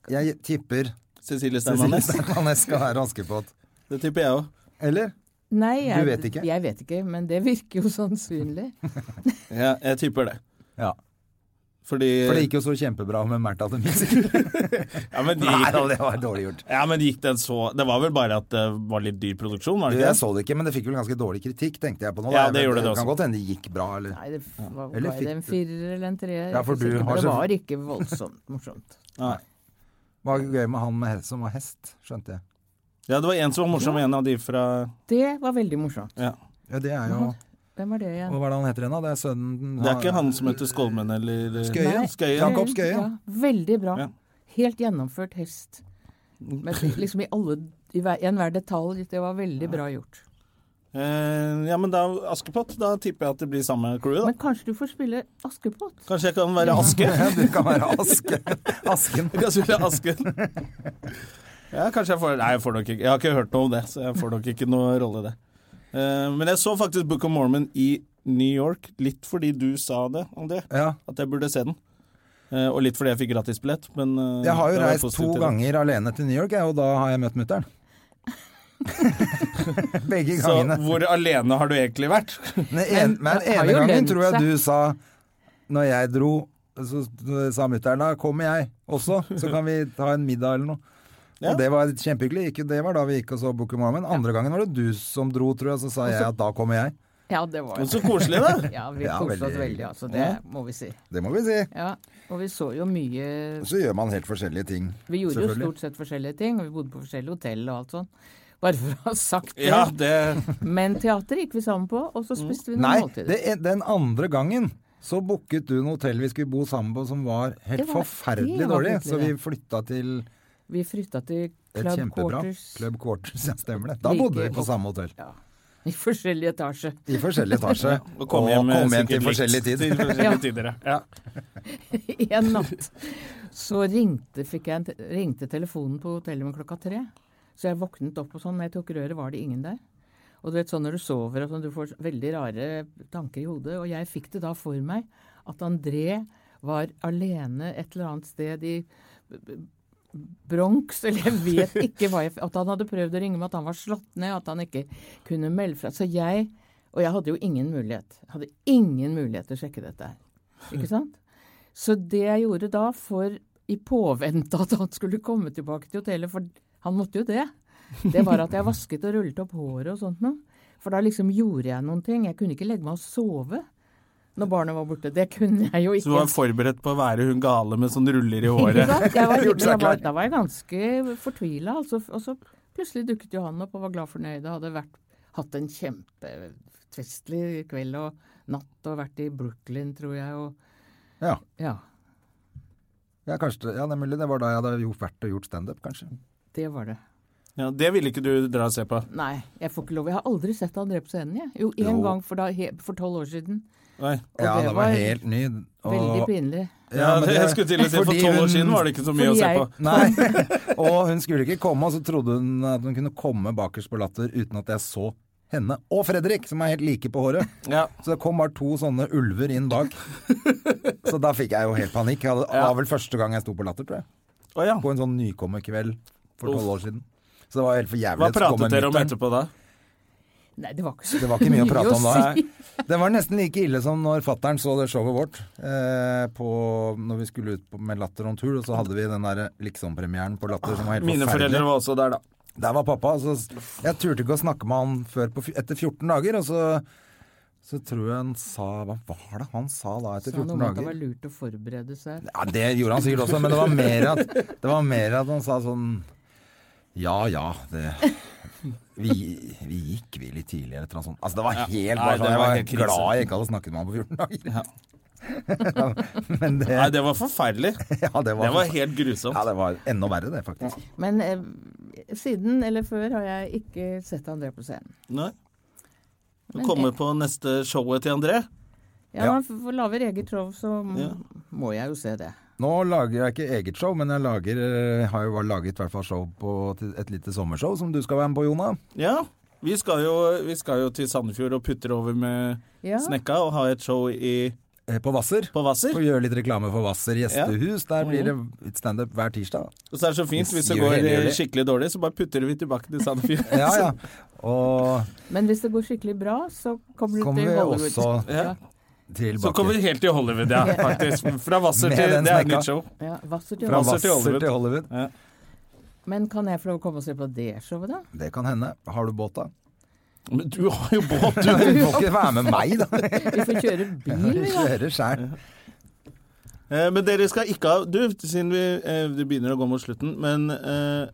B: Jeg tipper
A: Cecilie
B: Cecilie [LAUGHS]
A: Steinmanes.
B: Steinmanes skal være Askepott.
A: Det tipper jeg òg.
B: Eller?
D: Nei, jeg,
B: vet ikke?
D: Jeg vet ikke, men det virker jo [LAUGHS] sannsynlig.
A: Ja, jeg tipper det.
B: Ja.
A: Fordi,
B: For det gikk jo så kjempebra med Märtha
A: [LAUGHS]
B: the Musical.
A: ja, men de,
B: Nei, det var dårlig gjort.
A: ja, men gikk den så Det var vel bare at det var litt dyr produksjon, var det ikke?
B: Jeg så det ikke, men det fikk vel ganske dårlig kritikk, tenkte jeg på nå.
A: Ja,
B: da.
A: det
B: Jeg
A: gjorde
B: vet-
A: det
B: kan
A: også.
B: godt hende det gikk bra, eller
D: Nei, det f- var,
B: Eller
D: var det en
B: fikk du-
D: firer eller en treer?
B: Ja, for
D: Jeg er
B: du har
D: ikke sikker, men Det
B: så-
D: var ikke voldsomt morsomt.
A: Nei.
B: Var det gøy med han med hest, som var hest, skjønte jeg.
A: Ja, det var en som var morsom, en av de fra
D: Det var veldig morsomt.
A: ja.
B: Ja, det er jo
D: Hvem var det igjen?
B: Og Hva er det han heter igjen, da? Det er sønnen
A: Det er ikke han som heter Skolmen eller
B: Skøyen.
A: Skøyen.
B: Jakob Skøyen.
D: Ja, veldig bra.
A: Ja.
D: Helt gjennomført hest.
B: [LAUGHS]
D: Men liksom i, alle, i hver- i enhver detalj. Det var veldig bra gjort.
A: Eh, ja, men da Askepott. Da tipper jeg at det blir samme crew, da.
D: Men kanskje du får spille Askepott?
A: Kanskje jeg kan være Aske?
B: [LAUGHS] Det kan være aske. Asken.
A: Jeg kan spille Asken. [LAUGHS] Ja, kanskje jeg får Nei, jeg får nok ikke Jeg har ikke hørt noe om det, så jeg får nok ikke noe rolle i det. Eh, men jeg så faktisk Book of Mormon i New York, litt fordi du sa det om det,
B: Ja.
A: at jeg burde se den. Eh, og litt fordi jeg fikk gratisbillett, men eh,
B: Jeg har jo
A: da var jeg
B: reist
A: positiv
B: to
A: til det.
B: ganger alene til New York, jeg, og da har jeg møtt mutter'n. [LAUGHS] Begge
A: Så
B: gangene.
A: hvor alene har du egentlig vært?
B: Den en, men
D: Men
B: den
D: det har
B: ene
D: jo
B: gangen
D: lønt
B: tror jeg
D: seg.
B: du sa Når jeg dro, så sa mutter'n da kommer jeg også, så kan vi ta en middag eller noe.
A: Ja.
B: Og det var kjempehyggelig. Ikke det var da vi gikk og så Booker Mormon. Andre gangen var det du som dro, tror jeg, så sa jeg at da kommer jeg.
D: Ja, det var
A: Men så koselig, da!
D: Ja, vi
B: Ja,
D: koste oss
B: veldig.
D: veldig, altså. Det må vi si.
B: Det må vi si.
D: Ja, og vi så jo mye
B: Så gjør man helt forskjellige ting.
D: Vi gjorde jo
B: Selvfølgelig.
D: stort sett forskjellige ting, og vi bodde på forskjellige hotell og alt sånn. Bare for å ha sagt det.
A: [LAUGHS] Ja, det
D: Men teater gikk vi sammen på, og så spiste vi noen
B: Nei,
D: måltider.
B: det, den andre gangen så booket du en hotell vi skulle bo sammen på som var helt
D: Det var-
B: forferdelig
D: det var
B: dårlig,
D: fryktelig,
B: så vi
D: det.
B: flytta til
D: Vi flytta til
B: et
D: Club
B: kjempebra
D: Quarters
B: Club Quarters. [LAUGHS] Ja, stemmer det. Da
D: Like
B: bodde vi på
D: opp.
B: samme hotell.
D: ja, i [LAUGHS] forskjellig etasje.
B: I forskjellig
A: [LAUGHS]
B: etasje.
A: Å komme hjem,
B: og kom
A: sikkert
B: hjem til
A: likt
B: forskjellig tid.
A: Til forskjellige
D: Ja.
A: tider, ja.
D: I [LAUGHS] en natt. Så ringte, fikk jeg en, te- ringte telefonen på hotellet min klokka tre. Så jeg våknet opp og sånn, når jeg tok røret var det ingen der. Og du vet sånn når du sover og sånn, du får veldig rare tanker i hodet. Og jeg fikk det da for meg at André var alene et eller annet sted i B- B- Bronx, eller jeg vet ikke hva jeg At han hadde prøvd å ringe meg, at han var slått ned, at han ikke kunne melde fra. Så jeg Og jeg hadde jo ingen mulighet. Hadde ingen mulighet til å sjekke dette her. Ikke sant? Så det jeg gjorde da, for i påvente at han skulle komme tilbake til hotellet, for han måtte jo det, det var at jeg vasket og rullet opp håret og sånt noe. For da liksom gjorde jeg noen ting. Jeg kunne ikke legge meg og sove når barnet var borte. Det kunne jeg jo
A: Så
D: ikke.
A: du var forberedt på å være hun gale med sånn ruller i
D: Ikke
A: håret.
D: sant? Jeg
B: [LAUGHS]
D: var,
A: Gjort
D: men da,
A: seg
D: var,
A: klar.
D: da var jeg ganske fortvila, altså. Og så plutselig dukket jo han opp og var glad fornøyd. og Hadde vært, hatt en kjempefestlig kveld og natt og vært i Brooklyn, tror jeg. Og,
B: [LAUGHS] Ja,
D: ja,
B: ja, kanskje, ja, det er mulig. Det var da jeg hadde gjort, vært og gjort standup, kanskje.
D: det var det.
A: [LAUGHS] Ja, det ville ikke du dra og se på.
D: Nei, jeg får ikke lov. Jeg har aldri sett André på scenen, jeg. Jo,
B: Jo.
D: én gang for, da, he, for tolv år siden.
A: Nei.
D: Og
B: ja,
D: det
B: det var
D: var
B: helt ny. og-
D: Veldig pinlig.
A: Ja,
B: men
A: det,
B: det-
A: jeg skulle til å si, for
B: fordi
A: tolv
B: hun-
A: år siden var det ikke så mye å
D: fordi
A: se
D: jeg-
A: på.
B: Nei, [LAUGHS] og hun skulle ikke komme, og så trodde hun at hun kunne komme bakerst på latter uten at jeg så henne og Fredrik, som er helt like på håret.
A: Ja.
B: Så det kom bare to sånne ulver
A: [LAUGHS]
B: inn bak. Så da fikk jeg jo helt panikk. Jeg hadde- Det var vel første gang jeg sto på latter, tror jeg.
A: Å ja.
B: På en sånn nykommerkveld for
A: Uff.
B: tolv år siden. Så det var helt for
A: Hva
B: jævlig. Så kom
A: pratet
B: en
A: dere om
B: lytter.
A: etterpå da?
D: Nei, det var ikke så
B: Det var ikke mye å prate om da.
D: si.
B: Det var nesten like ille som når fattern så det showet vårt eh, på, når vi skulle ut på, med Latter on Tour, og så hadde vi den der liksom-premieren på Latter som var helt
A: Mine foreldre
B: forferdelig.
A: var også der, da.
B: Der var pappa. Så s- jeg turte ikke å snakke med han før på, fj- etter 14 dager, og så, så tror jeg han sa Hva var det han sa da etter
D: Sa
B: 14
D: noe om at det
B: dager?
D: var lurt å forberede seg.
B: Ja, det gjorde han sikkert også, men det var mer at, det var mer at han sa sånn Ja ja, det vi, vi gikk vi litt tidligere eller noe sånt. Altså det var helt
A: Nei,
B: bare
A: det
B: sånn, Jeg
A: var
B: var
A: helt krise.
B: glad jeg ikke hadde snakket med han på 14 dager. [LAUGHS] Men det,
A: Nei, det var forferdelig.
B: ja, det var, sånn.
A: Det var helt grusomt.
B: ja, det var enda verre det, faktisk.
D: Men eh, siden eller før har jeg ikke sett André på scenen.
A: Nei. Du kommer på neste showet til André.
D: Ja,
B: Ja.
D: men for for lager eget show, så m-
A: Ja.
D: må jeg jo se det.
B: Nå lager jeg ikke eget show, men jeg lager, eh, har jo bare laget i hvert fall show på til et lite sommershow som du skal være med på, Jona.
A: Ja. Vi skal jo, vi skal jo til Sandefjord og putter over med
D: Ja.
A: Snekka og ha et show i,
B: Eh, På Hvasser.
A: på Hvasser.
B: Og gjøre litt reklame for Hvasser gjestehus. Der blir
D: Mm.
B: det standup hver
D: [LAUGHS]
B: tirsdag.
A: Og så er det så fint, hvis det
B: Gjør
A: går
B: hele
A: eh,
B: juli.
A: skikkelig dårlig, så bare putter vi tilbake til Sandefjord.
B: [LAUGHS] Ja,
A: [LAUGHS]
B: ja. Og
D: Men hvis det går skikkelig bra, så kommer du
B: Kommer
D: til
B: vi
D: Hollywood.
B: også
D: Ja,
A: Så
B: tilbake.
A: kommer vi helt til Hollywood, ja, faktisk. Fra Hvasser
B: Med
A: til
B: den
A: Det er et
B: snekka.
A: nytt show.
D: ja, Hvasser til
B: Fra
D: Hollywood.
A: Hvasser til
B: Hvasser til Hollywood.
D: Men kan jeg få lov å komme og se på det showet, da?
B: Det kan hende. Har du
D: [LAUGHS]
B: båt, da?
A: Men du har jo båt,
B: Du
A: du!
B: [LAUGHS] får ikke være med meg,
D: [LAUGHS]
B: da!
D: Vi får
B: [LAUGHS]
D: kjøre bil,
B: Vi
D: vi, da.
B: kjører sjæl.
A: Eh, Men dere skal ikke ha Du, siden vi eh, det begynner å gå mot slutten, men eh,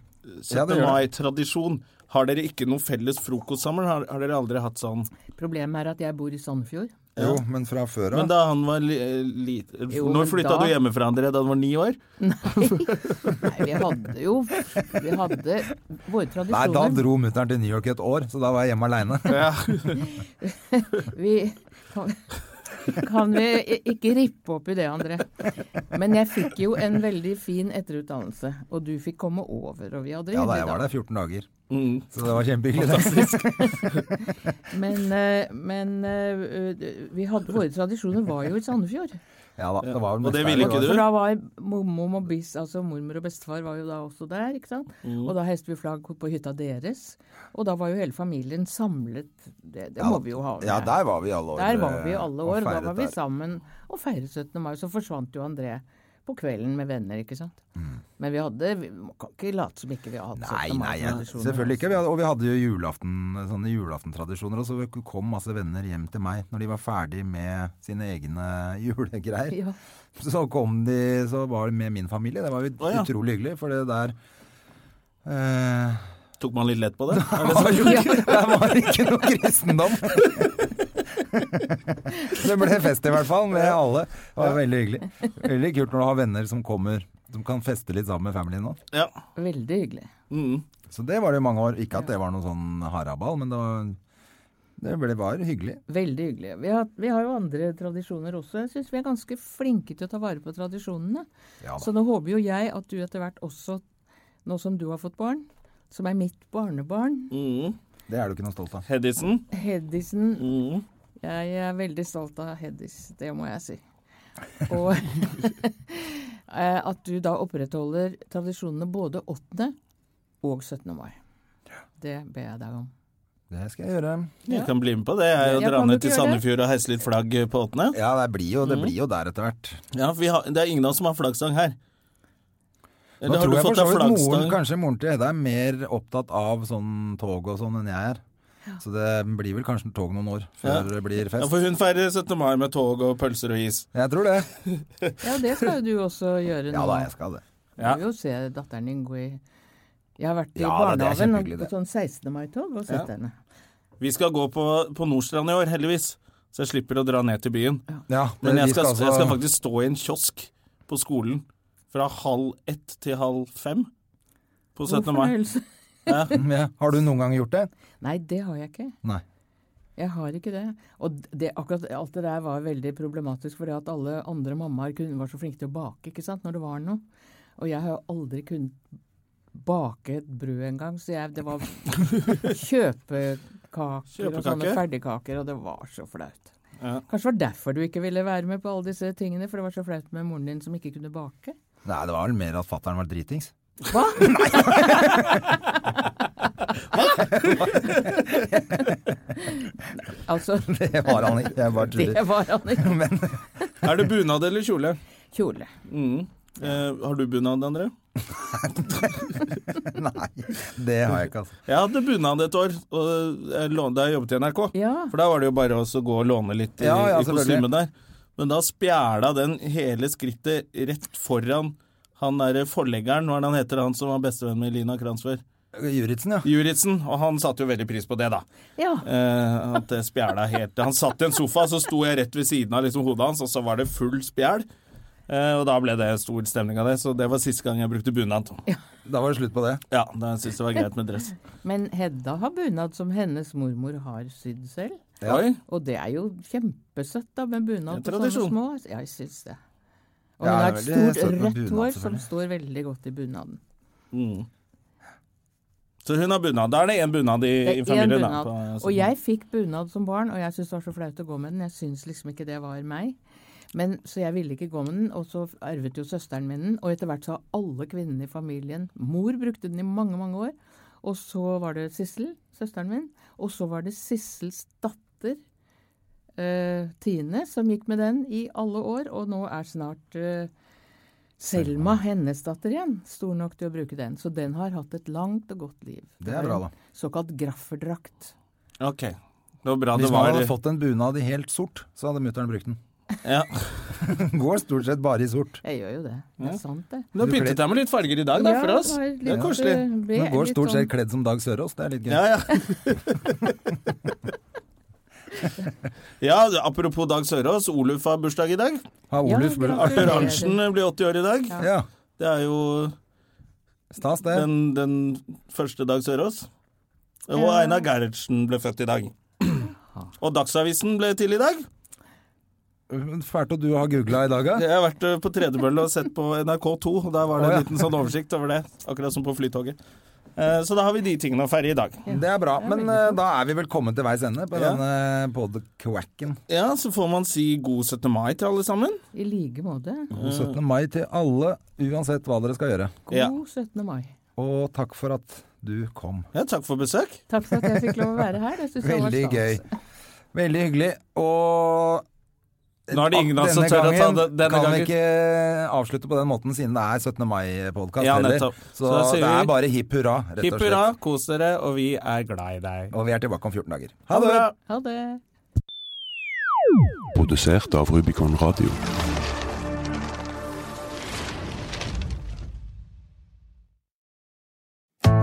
A: 17.
B: Ja, det gjør det.
A: mai-tradisjon Har dere ikke noen felles frokost sammen? Har, har dere aldri hatt sånn
D: Problemet er at jeg bor i Sandefjord.
B: Jo, men fra før
A: Men
B: av.
A: da han var li, eh, lit-
D: Jo, men
A: Når flytta
D: da-
A: du hjemmefra, André? Da han var ni år?
D: Nei, vi hadde jo Vi hadde våre
B: Nei, da
D: tradisjoner
B: dro mutter'n til New York i et år, så da var jeg hjemme aleine.
D: vi, kan, kan vi i- ikke rippe opp i det, André? Men jeg fikk jo en veldig fin etterutdannelse, og du fikk komme over, og vi hadde
B: Ja da, jeg
D: hyggelig
B: var
D: da.
B: der 14 dager.
A: Mm.
B: Så det var kjempehyggelig.
D: Men, eh, men eh, vi hadde, våre tradisjoner var jo i Sandefjord.
B: Ja da, det var vel
A: Og det
B: mest
A: ville
B: der,
A: ikke
D: For
A: du?
D: da var mormor og bis, altså mormor og bestefar var jo da også der, ikke sant? Og da heiste vi flagg på hytta deres, og da var jo hele familien samlet. Det, det må vi jo ha med.
E: Ja, der var vi i alle år.
D: Der var vi jo alle
E: eh, og
D: år. Da
E: feiret
D: var vi
E: der.
D: sammen og feiret 17. mai. Så forsvant jo André på kvelden med venner, ikke sant. Men vi hadde Vi må- kan ikke late som ikke vi har hatt
B: Nei,
D: 17.
B: nei, jeg,
D: mai-tradisjoner.
B: selvfølgelig ikke. Vi
D: altså.
B: hadde, og vi hadde jo julaften, sånne julaftentradisjoner, og så kom masse venner hjem til meg når de var ferdig med sine egne [LAUGHS] julegreier.
D: Ja.
B: Så kom de, så var de med min familie. Det var jo
A: ja.
B: utrolig hyggelig, for det der eh,
A: Tok man litt lett
D: [LAUGHS]
A: på det? Er det
B: var
A: sant?
B: jo ikke, der var ikke noe kristendom. [LAUGHS] Det ble fest i hvert fall, med alle. Det var veldig hyggelig. Veldig kult når du har venner som kommer, som kan feste litt sammen med familien nå.
A: Ja.
D: Veldig hyggelig.
A: Mm.
B: Så det var det i mange år. Ikke at det var noen sånn haraball, men det var, det ble bare hyggelig.
D: Veldig hyggelig. Vi har, vi har jo andre tradisjoner også. Jeg syns vi er ganske flinke til å ta vare på tradisjonene.
B: Ja da.
D: Så nå håper jo jeg at du etter hvert også, nå som du har fått barn, som er mitt barnebarn,
A: Mm.
B: Det er du ikke noe stolt av.
A: Hedison.
D: Hedisen
A: Mm.
D: Jeg er veldig stolt av Heddis, det må jeg si. Og [LAUGHS] eh, at du da opprettholder tradisjonene både 8. og 17. mai. Det ber jeg deg om.
B: Det skal jeg gjøre.
A: Jeg kan bli med på det. Jeg, og
D: Ja,
A: dra
D: kan du
A: ned
D: ikke
A: til
D: gjøre det?
A: Sandefjord og heise litt flagg eh, på åttende.
B: Ja, det blir jo, det blir jo der etter hvert.
A: Ja, for vi har, det er ingen av oss som har flaggstang her.
B: Nå
A: Eller har
B: tror
A: du
B: jeg for
A: fått
B: så
A: deg
B: vidt moren,
A: flaggstang?
B: kanskje moren til Hedda, er mer opptatt av sånn tog og sånn enn jeg er. Så det blir vel kanskje tog noen år før
A: Ja.
B: det blir
A: Ja,
B: fest.
A: for hun feirer 17. mai med tog og pølser og is.
B: Jeg tror det.
D: Ja, det skal jo du også gjøre nå.
B: Ja da, jeg skal det.
D: Du må jo se datteren din gå i Jeg har vært i
B: Ja da, det er
D: barnehagen
B: kjempehyggelig,
D: på
B: det.
D: sånn 16. mai-tog og sett henne.
A: Vi skal gå på, på Nordstrand i år, heldigvis. Så jeg slipper å dra ned til byen.
B: Ja,
A: Men
B: vi
A: jeg skal,
B: altså-
A: jeg skal faktisk stå i en kiosk på skolen fra halv ett til halv fem på 17.
D: God
A: mai.
D: fornøyelse.
B: ja. Har du noen gang gjort det?
D: Nei, det har jeg ikke.
B: Nei.
D: Jeg har ikke det. Og det, akkurat alt det der var veldig problematisk, fordi at alle andre mammaer kun- var så flinke til å bake, ikke sant, når det var noe. Og jeg har jo aldri kunnet bake et brød engang, så jeg, det var
A: [LAUGHS]
D: kjøpekaker, og sånne
A: Kjøpekaker?
D: ferdigkaker, og det var så flaut.
A: Ja.
D: Kanskje det var derfor du ikke ville være med på alle disse tingene, for det var så flaut med moren din som ikke kunne bake.
B: Nei, det var vel mer at fattern var dritings. [LAUGHS]
D: Hva? altså,
B: Det var han ikke. Jeg bare tuller.
D: det var han ikke.
A: Er det bunad eller kjole?
D: Kjole.
A: Mm. Eh, har du bunad, André?
B: Nei, det har jeg ikke, altså.
A: Jeg hadde bunad et år og jeg lånte, da jeg jobbet i NRK.
D: Ja.
A: For da var det jo bare også å gå og låne litt i,
B: Ja, ja,
A: i
B: selvfølgelig.
A: kostymet der. Men da spjæla den hele skrittet rett foran han derre forleggeren, hva er det han heter, han som var bestevenn med Lina Kransfjør?
B: Juritzen, ja.
A: Juritzen. Og han satte jo veldig pris på det, da.
D: Ja.
A: Eh, at det spjæla helt Han satt i en sofa, så sto jeg rett ved siden av liksom, hodet hans, og så var det full spjæl. Eh, og da ble det stor stemning av det, så det var siste gang jeg brukte bunad.
B: Da var det slutt på det.
A: Ja, da syntes jeg det var greit med dress.
D: Men Hedda har bunad som hennes mormor har sydd selv.
A: Oi.
D: Og det er jo kjempesøtt da, med bunad
A: Det er
D: på sånne
A: tradisjon.
D: små. Ja, jeg syns det. Og
B: Ja,
D: hun har
B: det
D: et
B: er veldig
D: stort,
B: søtt med
D: rødt
B: bunad,
D: hår som
B: selvfølgelig.
D: står veldig godt i bunaden.
A: Mm. Så hun har bunad. Da er det én bunad i,
D: Det
A: i
D: er én
A: familien. Da,
D: bunad.
A: på- altså,
D: Og jeg fikk bunad som barn, og jeg syntes det var så flaut å gå med den. Jeg syns liksom ikke det var meg. Men, så jeg ville ikke gå med den, og så arvet jo søsteren min den. Og etter hvert så har alle kvinnene i familien Mor brukte den i mange, mange år. Og så var det Sissel, søsteren min. Og så var det Sissels datter, eh, Tine, som gikk med den i alle år. Og nå er snart eh, Selma, hennes datter igjen, stor nok til å bruke den. Så den har hatt et langt og godt liv.
B: Det er bra, da.
D: Såkalt grafferdrakt.
A: Ok. Det var bra det
B: Hvis man
A: var
B: hadde fått en bunad i helt sort, så hadde mutter'n brukt den.
A: ja.
B: [LAUGHS] Går stort sett bare i sort.
D: Jeg gjør jo det. Det er sant, det.
A: Du har pyntet deg med litt farger i dag, da, for oss.
D: var
A: Det er koselig.
D: eh, be-
B: Men går
D: litt
B: stort
D: sånn-
B: sett kledd som Dag Sørås, det er litt gøy.
A: Ja, ja. Ja, [LAUGHS] apropos Dag Sørås. Oluf har bursdag i dag.
B: Har
D: Ja,
B: Oluf
D: gratulerer.
A: Arthur Arntzen blir 80 år i dag.
B: Ja.
A: Det er jo
B: Stas, det.
A: den, den første Dag Sørås. Og Einar Gerhardsen ble født i dag. Og Dagsavisen ble til i dag.
B: Fælt at du har googla i dag, ja.
A: Jeg har vært eh, på tredemølle og sett på NRK2. og Der var det
B: Å, ja.
A: en liten sånn oversikt over det, akkurat som på Flytoget. Eh, Så da har vi de tingene å feire i dag.
B: Det er bra. Men eh, da er vi vel kommet til veis ende på
A: Ja.
B: denne podkvacken.
A: Ja, så får man si god 17. mai til alle sammen.
D: I like måte.
B: God 17. mai til alle, uansett hva dere skal gjøre.
D: God
A: Ja.
D: 17. mai.
B: Og takk for at du kom.
A: Ja, takk for besøk.
D: Takk for at jeg fikk lov å være her. Det synes jeg var
B: Veldig
D: stas.
B: gøy. Veldig hyggelig. Og
A: Nå er det ingen av oss som
B: denne
A: tør å ta
B: gangen
A: det denne
B: kan vi
A: gangen.
B: ikke avslutte på den måten, siden det er 17. mai-podkast.
A: Ja,
B: heller.
A: nettopp.
B: så
A: Så da sier
B: det
A: vi-
B: er bare hipp hurra, rett
A: Hipp
B: og
A: hurra,
B: slett.
A: kos dere, og vi er glad i deg.
B: Og vi er tilbake om 14 dager.
A: Ha det bra!
D: Ha det.
F: Produsert av Rubicon Radio.